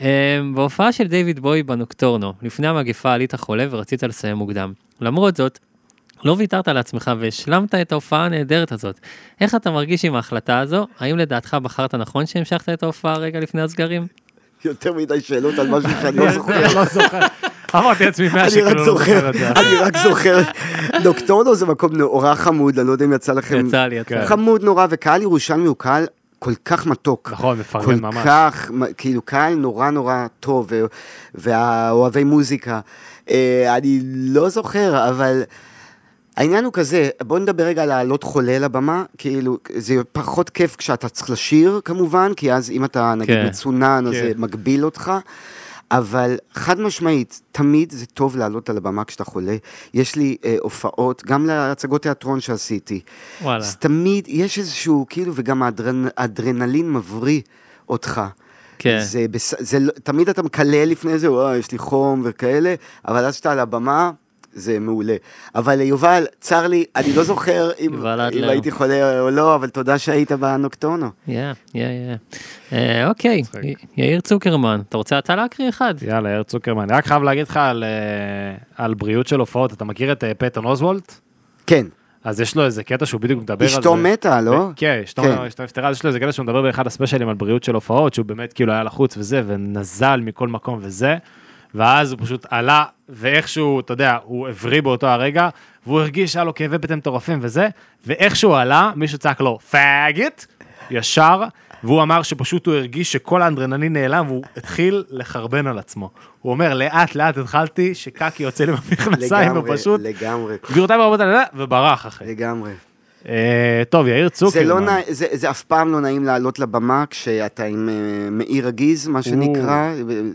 S7: אמ, בהופעה של דיוויד בוי בנוקטורנו, לפני המגפה עלית חולה ורצית לסיים מוקדם. למרות זאת, לא ויתרת על עצמך והשלמת את ההופעה הנהדרת הזאת. איך אתה מרגיש עם ההחלטה הזו? האם לדעתך בחרת נכון שהמשכת את ההופעה רגע לפני הסגרים?
S2: יותר מדי שאלות על משהו שאני לא זוכר.
S6: לא זוכר. אמרתי לעצמי מאה
S2: אני רק
S6: שכאילו לא
S2: זוכר,
S6: זוכר את זה.
S2: אני רק זוכר, דוקטורנו זה מקום נורא חמוד, אני לא יודע אם יצא לכם,
S7: יצא לי, יצא לי.
S2: חמוד נורא, וקהל ירושלמי הוא קהל כל כך מתוק.
S6: נכון, מפרגן
S2: כל
S6: ממש.
S2: כך, מ- כאילו, קהל נורא נורא טוב, ו- והאוהבי מוזיקה. אה, אני לא זוכר, אבל העניין הוא כזה, בוא נדבר רגע על לעלות חולה לבמה, כאילו, זה פחות כיף כשאתה צריך לשיר, כמובן, כי אז אם אתה, נגיד,
S7: כן.
S2: מצונן, אז
S6: כן.
S2: זה מגביל אותך. אבל חד משמעית, תמיד זה טוב לעלות על הבמה כשאתה חולה. יש לי אה, הופעות, גם להצגות תיאטרון שעשיתי.
S7: וואלה.
S2: אז תמיד יש איזשהו, כאילו, וגם האדרנ- האדרנלין מבריא אותך.
S7: כן.
S2: זה, בס... זה לא- תמיד אתה מקלל לפני זה, וואי, יש לי חום וכאלה, אבל אז שאתה על הבמה, זה מעולה. אבל יובל, צר לי, אני לא זוכר אם,
S7: יובל
S2: אם
S7: אדלר.
S2: הייתי חולה או לא, אבל תודה שהיית בנוקטורנו.
S7: יא, יא, יא. אה, אוקיי, י- יאיר צוקרמן, אתה רוצה אתה להקריא אחד?
S6: יאללה, יאיר צוקרמן. אני רק חייב להגיד לך על, אה, על בריאות של הופעות. אתה מכיר את אה, פטון אוזוולט?
S2: כן,
S6: אז יש לו איזה קטע שהוא בדיוק מדבר על זה.
S2: אשתו מתה, לא?
S6: כן, אשתו
S2: כן.
S6: אשתו נפטרה, אז יש לו איזה קטע שהוא מדבר באחד הספיישלים על בריאות של הופעות, שהוא באמת כאילו היה לחוץ וזה, ונזל מכל מקום וזה, ואז הוא פשוט עלה, ואיכשהו, אתה יודע, הוא הבריא באותו הרגע, והוא הרגיש שהיה לו כאבי בטן מטורפים וזה, ואיכשהו עלה, מישהו צעק לו, פאגט, ישר, והוא אמר שפשוט הוא הרגיש שכל האנדרנלין נעלם, והוא התחיל לחרבן על עצמו. הוא אומר, לאט לאט התחלתי, שקקי יוצא לי מהמכנסיים,
S2: לגמרי,
S6: ופשוט,
S2: לגמרי,
S6: גבירותיי ורבותיי, וברח, אחי.
S2: לגמרי.
S6: אה, טוב, יאיר
S2: זה,
S6: צוקרמן.
S2: לא נע... זה, זה אף פעם לא נעים לעלות לבמה כשאתה עם אה, מעי רגיז, מה שנקרא,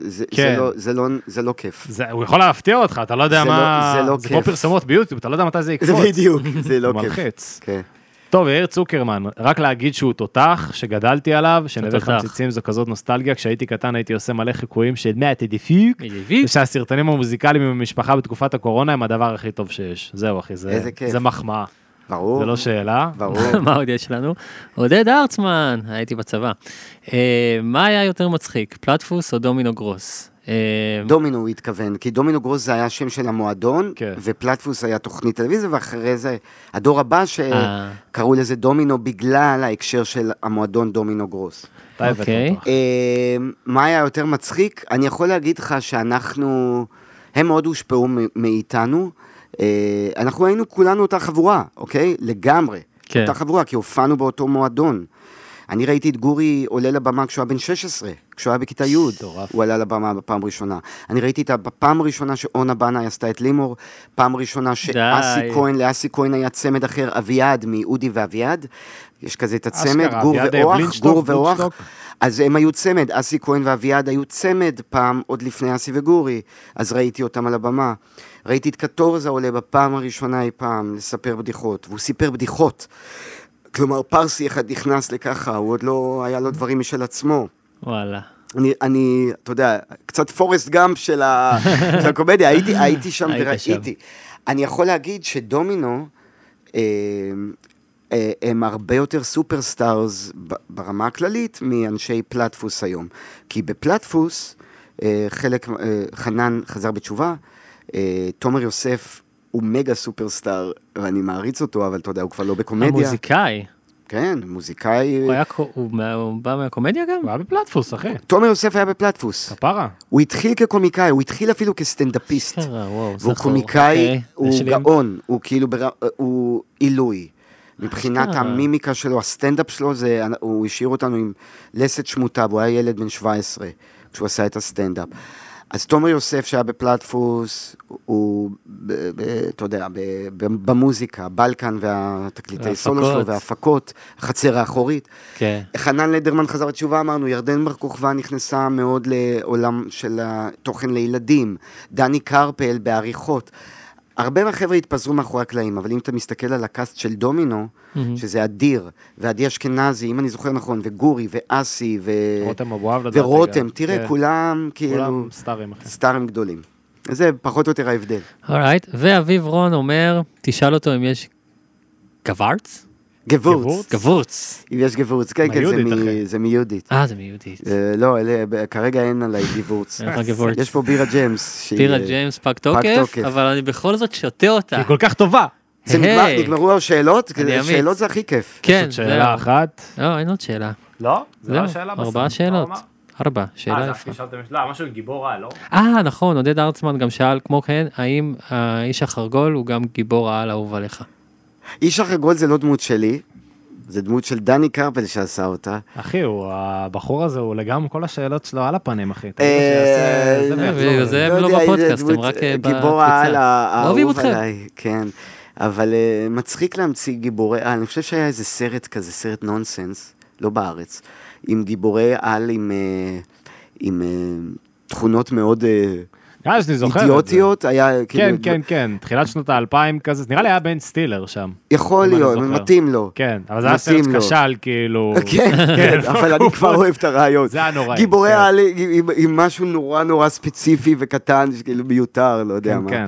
S2: זה,
S6: כן.
S2: זה, לא, זה, לא, זה לא כיף.
S6: זה, הוא יכול להפתיע אותך, אתה לא יודע
S2: זה
S6: מה...
S2: לא- זה לא
S6: זה כמו
S2: כיף.
S6: פרסומות ביוטיוב, אתה לא יודע מתי זה יקפוץ.
S2: זה בדיוק, זה לא
S6: הוא
S2: כיף.
S6: מלחיץ.
S2: כן.
S6: טוב, יאיר צוקרמן, רק להגיד שהוא תותח, שגדלתי עליו, שנווה
S7: התותח.
S6: חמציצים זו כזאת נוסטלגיה, כשהייתי קטן הייתי עושה מלא חיקויים של מה אתה דפוק, ושהסרטונים המוזיקליים עם המשפחה בתקופת הקורונה הם הדבר הכי טוב שיש. זהו אחי, זה,
S2: איזה כיף.
S6: זה מחמאה,
S2: ברור,
S6: זה לא שאלה.
S2: ברור.
S7: מה עוד יש לנו? עודד הרצמן, הייתי בצבא. אה, מה היה יותר מצחיק, פלטפוס או דומינו גרוס? אה,
S2: דומינו הוא התכוון, כי דומינו גרוס זה היה השם של המועדון,
S6: כן.
S2: ופלטפוס היה תוכנית טלוויזיה, ואחרי זה הדור הבא
S7: אה.
S2: שקראו לזה דומינו בגלל ההקשר של המועדון דומינו גרוס.
S6: אתה הבאת
S7: אוקיי.
S6: אותו.
S2: אה, מה היה יותר מצחיק? אני יכול להגיד לך שאנחנו, הם מאוד הושפעו מ- מאיתנו. אה, אנחנו היינו כולנו אותה חבורה, אוקיי? לגמרי.
S7: כן.
S2: אותה חבורה, כי הופענו באותו מועדון. אני ראיתי את גורי עולה לבמה כשהוא היה בן 16, כשהוא היה בכיתה י', הוא עלה לבמה בפעם ראשונה. אני ראיתי את הפעם הראשונה שאונה בנאי עשתה את לימור, פעם ראשונה שאסי
S7: די.
S2: כהן, לאסי כהן היה צמד אחר, אביעד, מאודי ואביעד. יש כזה את הצמד,
S6: אשכרה,
S2: גור
S6: אביעד, אה,
S2: ואורח,
S6: בלינשטוק,
S2: גור ואורח.
S6: בלינשטוק.
S2: אז הם היו צמד, אסי כהן ואביעד היו צמד פעם, עוד לפני אסי וגורי, אז ראיתי אותם על הבמה. ראיתי את קטורזה עולה בפעם הראשונה אי פעם לספר בדיחות, והוא סיפר בדיחות. כלומר, פרסי אחד נכנס לככה, הוא עוד לא, היה לו דברים משל עצמו.
S7: וואלה.
S2: אני, אני, אתה יודע, קצת פורסט גאמפ של, ה, של הקומדיה, הייתי, הייתי שם
S7: היית
S2: וראיתי. אני יכול להגיד שדומינו, אה, אה, הם הרבה יותר סופרסטארס ב- ברמה הכללית מאנשי פלטפוס היום. כי בפלטפוס, אה, חלק, אה, חנן חזר בתשובה, אה, תומר יוסף הוא מגה סופרסטאר, ואני מעריץ אותו, אבל אתה יודע, הוא כבר לא בקומדיה.
S7: המוזיקאי,
S2: כן, מוזיקאי.
S7: הוא היה קו- הוא מה- הוא בא מהקומדיה גם?
S6: הוא היה בפלטפוס, אחי,
S2: תומר יוסף היה בפלטפוס.
S6: כפרה.
S2: הוא התחיל כקומיקאי, הוא התחיל אפילו כסטנדאפיסט.
S7: אשכרה, אה, וואו, זכור.
S2: והוא קומיקאי,
S7: אוקיי,
S2: הוא
S7: נשלים.
S2: גאון, הוא כאילו, בר- הוא עילוי. מבחינת
S7: אשכרה.
S2: המימיקה שלו, הסטנדאפ שלו, זה, הוא השאיר אותנו עם לסת שמוטה, והוא היה ילד בן 17 כשהוא עשה את הסטנדאפ. אז תומר יוסף שהיה בפלטפוס, הוא, ב- ב- אתה יודע, ב- ב- במוזיקה, בלקן והתקליטי סולו שלו
S7: וההפקות.
S2: וההפקות, החצר האחורית.
S7: כן.
S2: חנן לדרמן חזר בתשובה, אמרנו, ירדן בר כוכבא נכנסה מאוד לעולם של התוכן לילדים, דני קרפל בעריכות. הרבה מהחבר'ה התפזרו מאחורי הקלעים, אבל אם אתה מסתכל על הקאסט של דומינו, שזה אדיר, ועדי אשכנזי, אם אני זוכר נכון, וגורי, ואסי, ו...
S6: רותם אבואב לדעתי
S2: ורותם,
S6: גם.
S2: תראה,
S6: כן.
S2: כולם כאילו
S6: כולם סטארים,
S7: אה.
S6: אחי.
S2: סטארים גדולים. זה פחות או יותר ההבדל.
S7: אורייט, ואביב רון אומר, תשאל אותו אם יש גווארץ?
S2: גבורץ,
S7: גוורץ.
S2: אם יש גבורץ, כן, כן, זה
S6: מיהודית,
S2: מ-
S6: אחי.
S2: זה מיהודית.
S7: אה, זה מיהודית.
S2: אה, לא, אלה- כרגע אין עליי גיבורץ.
S7: אין לך גוורץ.
S2: יש פה בירה ג'יימס. שהיא,
S7: פירה
S2: אה,
S7: ג'יימס פג
S2: תוקף.
S7: תוקף, אבל אני בכל זאת שותה אותה.
S6: היא כל כך טובה.
S2: זה נגמר-
S7: היי.
S2: נגמרו השאלות?
S7: אני אמיץ.
S2: שאלות זה הכי כיף.
S7: כן,
S6: זאת
S7: זהו.
S6: שאלה אחת.
S7: לא, אין עוד שאלה.
S6: לא? זה לא
S7: זהו,
S6: השאלה בסוף.
S7: ארבע שאלות. ארבע, שאלה
S6: אה,
S7: יפה.
S6: לא, משהו עם גיבור על, לא?
S7: אה, נכון, עודד הרצמן גם שאל, כמו כן, האם האיש החרגול הוא גם גיבור העל אהוב עליך?
S2: איש החגול זה לא דמות שלי. זה דמות של דני קרפל שעשה אותה.
S6: אחי, הוא, הבחור הזה, הוא לגמרי, כל השאלות שלו על הפנים, אחי. אתה יודע
S2: אה,
S6: שיעשה- זה
S2: אה,
S6: ויחזור.
S7: בגלל זה הם
S2: לא
S7: לא
S2: יודע, איזה
S7: בפודקאסט, הם
S2: דמות,
S7: רק,
S2: אה,
S7: אה,
S2: גיבור
S7: בקבוצה.
S2: העל ה-
S7: אוהבים
S2: האהוב
S7: אתכם.
S2: עליי, כן. אבל אה, מצחיק להמציא גיבורי על. אני חושב שהיה איזה סרט כזה, סרט נונסנס, לא בארץ, עם גיבורי על עם, אה, עם אה, תכונות מאוד אה,
S6: נראה לי שאני זוכר את זה.
S2: אידיוטיות. היה
S6: כן,
S2: כאילו-
S6: כן, כן, תחילת שנות האלפיים כזה, נראה לי היה בן סטילר שם.
S2: יכול
S6: אם אני
S2: להיות,
S6: זוכר.
S2: מתאים לו.
S6: כן, אבל זה היה
S2: מתאים
S6: סרט
S2: לו.
S6: כשל, כאילו...
S2: כן, כן, אבל אני כבר אוהב את הרעיון.
S6: זה היה נוראי,
S2: גיבורי
S6: כן.
S2: העל עם- עם- עם משהו נורא נורא ספציפי וקטן, שכאילו מיותר, לא יודע
S6: כן,
S2: מה.
S6: כן.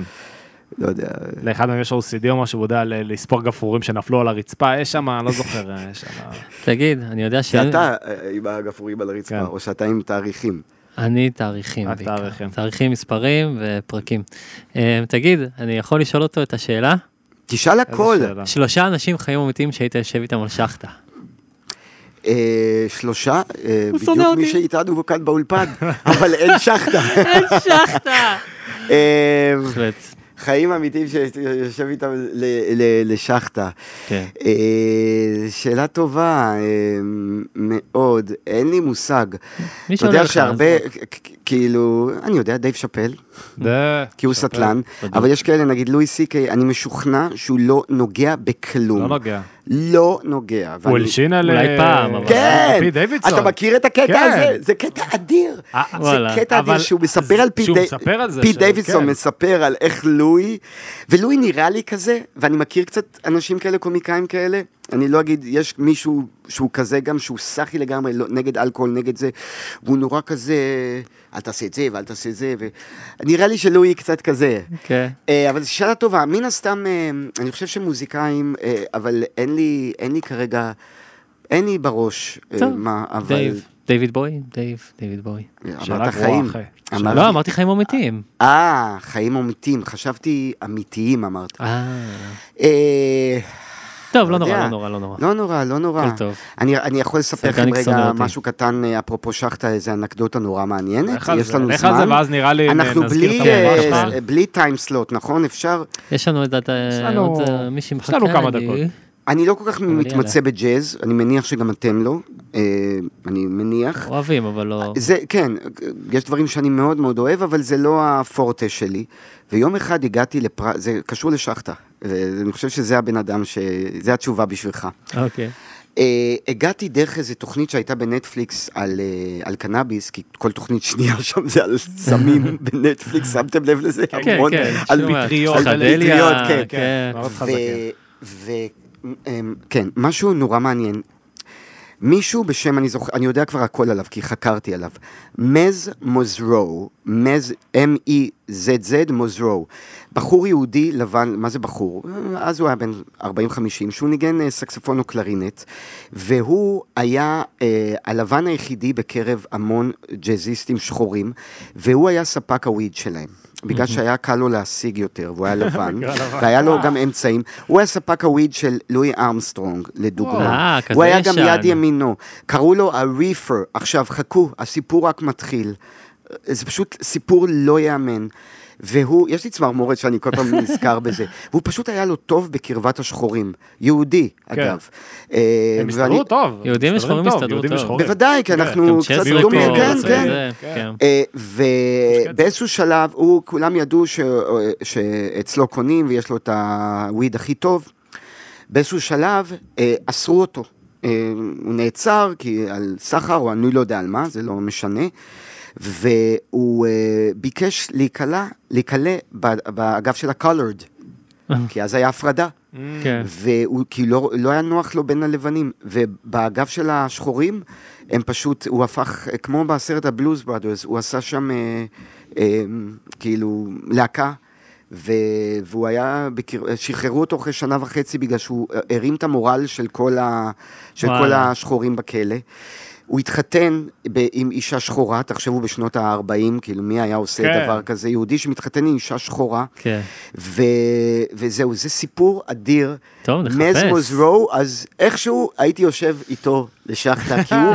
S2: לא יודע.
S6: לאחד מהם יש OCD או משהו, הוא יודע ל- לספור גפרורים שנפלו על הרצפה, יש שם, אני לא זוכר, אה, יש שם...
S7: תגיד, אני יודע ש...
S2: זה אתה אה, עם הגפרורים על הרצפה,
S6: כן.
S2: או שאתה עם תאריכים.
S7: אני תאריכים
S6: רק
S7: בעיקר.
S6: תאריכים.
S7: תאריכים, מספרים ופרקים. אה, תגיד, אני יכול לשאול אותו את השאלה?
S2: תשאל הכל.
S6: איזה שאלה.
S7: שלושה אנשים חיים ומתים שהיית יושב איתם על שחטה.
S2: אה, שלושה, אה,
S7: שונא
S2: בדיוק מי
S7: אותי.
S2: שאיתנו כאן באולפן, אבל אין שחטה.
S7: אין שחטה!
S2: אה,
S7: בהחלט.
S2: חיים אמיתיים שיושב איתם ל- ל- לשחטה.
S7: כן.
S2: אה, שאלה טובה אה, מאוד, אין לי מושג.
S7: מי
S2: אתה
S7: שעונה
S2: יודע
S7: לך,
S2: שהרבה,
S7: אז
S2: כ- כ- כאילו, אני יודע, דייב שאפל,
S6: זה-
S2: כי הוא
S6: שאפל.
S2: סטלן, אבל יש כאלה, נגיד לואי סי קיי, אני משוכנע שהוא לא נוגע בכלום.
S6: לא נוגע.
S2: לא נוגע.
S6: הוא
S2: ואני-
S6: הלשין על...
S7: אולי
S6: אה,
S7: פעם, אבל-
S2: כן,
S6: על פי דיווידסון.
S2: אתה מכיר את הקטע
S6: כן.
S2: הזה? זה קטע אדיר.
S6: אה,
S7: וואלה,
S2: זה קטע אדיר
S6: אבל-
S2: שהוא מספר על פי
S6: שהוא
S2: די-
S6: מספר על זה,
S2: פי
S6: ש-
S2: דיווידסון
S6: כן.
S2: מספר על איך לואי, ולואי נראה לי כזה, ואני מכיר קצת אנשים כאלה, קומיקאים כאלה, אני לא אגיד, יש מישהו שהוא כזה גם, שהוא סאחי לגמרי, לא, נגד אלכוהול, נגד זה, והוא נורא כזה, אל תעשה את זה ואל תעשה את זה, ו... נראה לי שלואי קצת כזה.
S7: כן.
S2: אה, אבל זו שאלה טובה, מן הסתם, אה, אני חושב שמוזיקאים, אה, אבל אין לי, אין לי כרגע, אין לי בראש אה,
S7: טוב,
S2: מה, אבל...
S7: דייב, דיוויד בוי? דייב, דיוויד בוי.
S6: שאלה
S2: אמרת
S6: גרועה,
S2: חיים.
S6: אחי.
S2: אמרתי-
S7: לא, אמרתי חיים אמיתיים.
S2: אה, חיים אמיתיים, חשבתי אמיתיים אמרת.
S7: אה.
S2: אה,
S7: טוב, לא
S2: יודע.
S7: נורא, לא נורא, לא נורא.
S2: לא נורא, לא נורא.
S7: הכל טוב.
S2: אני, אני יכול לספר לכם
S7: סלגניק שונא
S2: רגע
S7: אותי.
S2: משהו קטן, אה, אפרופו שחטה, איזה אנקדוטה נורא מעניינת,
S6: לך על
S2: יש
S6: זה,
S2: לנו
S6: לך על
S2: זמן.
S6: זה, ואז נראה לי
S2: אנחנו
S6: נזכיר
S2: בלי,
S6: את המורה
S2: אה,
S6: שלך.
S2: אה, בלי טיימסלוט, נכון? אפשר?
S7: יש לנו את אה,
S6: לנו-
S7: מי שמחכה.
S6: יש לנו כמה
S7: אני-
S6: דקות.
S2: אני לא כל כך
S7: יאללה.
S2: מתמצא בג'אז, אני מניח שגם אתם לא, אה, אני מניח.
S7: אוהבים, אבל לא...
S2: זה, כן, יש דברים שאני מאוד מאוד אוהב, אבל זה לא הפורטה שלי. ויום אחד הגעתי לפר... זה קשור לשחטה. ואני חושב שזה הבן אדם ש... זה התשובה בשבילך.
S7: אוקיי.
S2: אה, הגעתי דרך איזו תוכנית שהייתה בנטפליקס על, אה, על קנאביס, כי כל תוכנית שנייה שם זה על סמים בנטפליקס, שמתם לב לזה?
S7: כן,
S2: המון.
S7: כן.
S2: על
S7: שומע,
S6: מטריות,
S2: על
S7: פסיכדליה,
S2: מטריות, כן.
S7: כן.
S6: מאוד
S2: ו...
S6: חזקים.
S2: ו... אמ, כן, משהו נורא מעניין. מישהו בשם, אני זוכר, אני יודע כבר הכל עליו, כי חקרתי עליו. מז מוזרו, מז, E M-E-Z-Z מוזרו. בחור יהודי לבן, מה זה בחור? אז הוא היה בן 40-50, שהוא ניגן אה, סקספון או קלרינט, והוא היה אה, הלבן היחידי בקרב המון ג'אזיסטים שחורים, והוא היה ספק הוויד שלהם. בגלל שהיה קל לו להשיג יותר, והוא היה לבן, והיה לו גם אמצעים. הוא היה ספק הוויד של לואי ארמסטרונג, לדוגמה.
S7: אה, כזה
S2: הוא היה גם
S7: ישן.
S2: יד ימינו. קראו לו הריפר. עכשיו, חכו, הסיפור רק מתחיל. זה פשוט סיפור לא ייאמן. והוא, יש לי צמרמורת שאני כל פעם נזכר בזה. והוא פשוט היה לו טוב בקרבת השחורים. יהודי, אגב. אה,
S6: כן. הם
S2: ואני-
S6: הסתדרו טוב.
S7: יהודים
S6: מסתדרים
S7: ושחורים
S6: טוב,
S7: הסתדרו
S6: יהודים
S7: טוב.
S6: ושחורים.
S2: בוודאי, כי
S6: כן,
S2: אנחנו
S7: גם
S2: קצת
S7: צ'סטר
S2: דומים,
S7: פה,
S2: כן,
S7: זה-
S2: כן.
S7: זה, כן.
S2: ובאיזשהו שלב, הוא, כולם ידעו ש- אה, שאצלו קונים ויש לו את הוויד הכי טוב. באיזשהו שלב אה, אסרו אותו. אה, הוא נעצר כי על סחר, או אני לא יודע על מה, זה לא משנה. והוא אה, ביקש להיקלע, להיקלע ב- באגף של ה-colored, כי אז היה הפרדה.
S7: כן.
S2: והוא, כי לא, לא היה נוח לו בין הלבנים, ובאגף של השחורים, הם פשוט, הוא הפך, אה, כמו בסרט הבלוז בראדרס, הוא עשה שם אה, אה, כאילו להקה, ו, והוא היה, בקר... אה, שחררו אותו אחרי שנה וחצי בגלל שהוא אה, הרים את המורל של כל, ה, של כל
S7: וואלה.
S2: השחורים בכלא. הוא התחתן ב, עם אישה שחורה, תחשבו בשנות ה-40, כאילו מי היה עושה
S6: כן.
S2: דבר כזה, יהודי שמתחתן עם אישה שחורה,
S7: כן.
S2: ו... וזהו, זה סיפור אדיר.
S7: טוב, נחפש.
S2: מזמוס רו, אז איכשהו הייתי יושב איתו לשחטה, כי, הוא,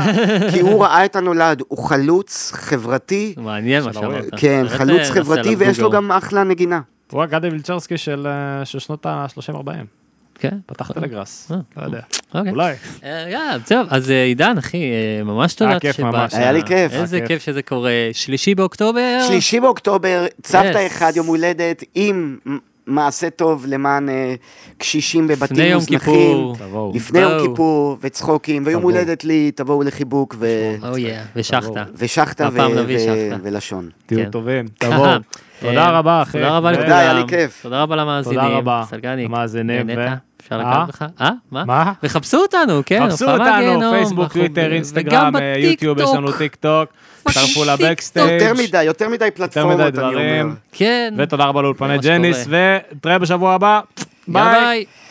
S2: כי הוא ראה את הנולד, הוא חלוץ חברתי,
S7: מעניין מה
S6: של האוהב.
S7: שאמרת.
S2: כן,
S7: באמת, אה,
S2: חלוץ
S7: נעשה
S2: חברתי,
S7: עליו
S2: ויש לו
S7: גוגל.
S2: גם אחלה נגינה.
S6: הוא הגדי וילצ'רסקי של אה, של שנות ה-30-40.
S7: כן.
S6: פתחת לגראס,
S7: אה.
S6: לא יודע,
S7: אוקיי.
S6: אולי.
S7: אה, יאללה, טוב, אז אה, עידן, אחי, אה, ממש תודה
S6: היה כיף ממש. אה,
S2: היה לי כיף.
S7: איזה
S6: היה כיף.
S7: כיף שזה קורה. שלישי באוקטובר?
S2: שלישי באוקטובר, צוותא
S7: אה. Yes.
S2: אחד יום הולדת עם מ- מעשה טוב למען אה, קשישים
S7: לפני
S2: בבתים
S7: יום
S2: מוזנחים.
S7: כיפור.
S6: תבואו.
S2: לפני יום
S7: תבואו.
S2: כיפור, וצחוקים, ויום
S6: תבואו.
S2: הולדת לי, תבואו לחיבוק, ו...
S7: אוי, ושחטה.
S2: ושחטה ו-
S7: הפעם נביא
S2: ו-
S7: שחטה.
S2: ולשון.
S6: תהיו
S7: כן.
S6: טובים, תבואו. תודה
S7: אה,
S6: רבה, אחי.
S7: תודה רבה
S6: ו-
S7: לכולם.
S2: תודה, היה לי כיף.
S7: תודה רבה למאזינים.
S6: תודה רבה.
S7: סלגניק.
S6: למאזינים, ו-
S7: נהנית? אפשר
S6: אה?
S7: לקחת לך? אה? מה?
S6: מה?
S7: וחפשו אותנו, כן.
S6: חפשו
S7: הופעה
S6: אותנו,
S7: מהגיהנום,
S6: פייסבוק,
S7: אנחנו-
S6: טוויטר,
S7: וגם
S6: אינסטגרם, אה, יוטיוב, יש
S7: בטיקטוק.
S6: לנו טיק טוק, הצטרפו
S7: טיקטוק.
S6: לבקסטייג',
S2: יותר מדי, יותר מדי פלטפורמות, אני אומר.
S6: דברים.
S7: כן.
S6: ותודה רבה לאולפני
S7: ממש
S6: ג'ניס, ותראה בשבוע הבא,
S7: יאללה,
S6: ביי.
S7: ביי.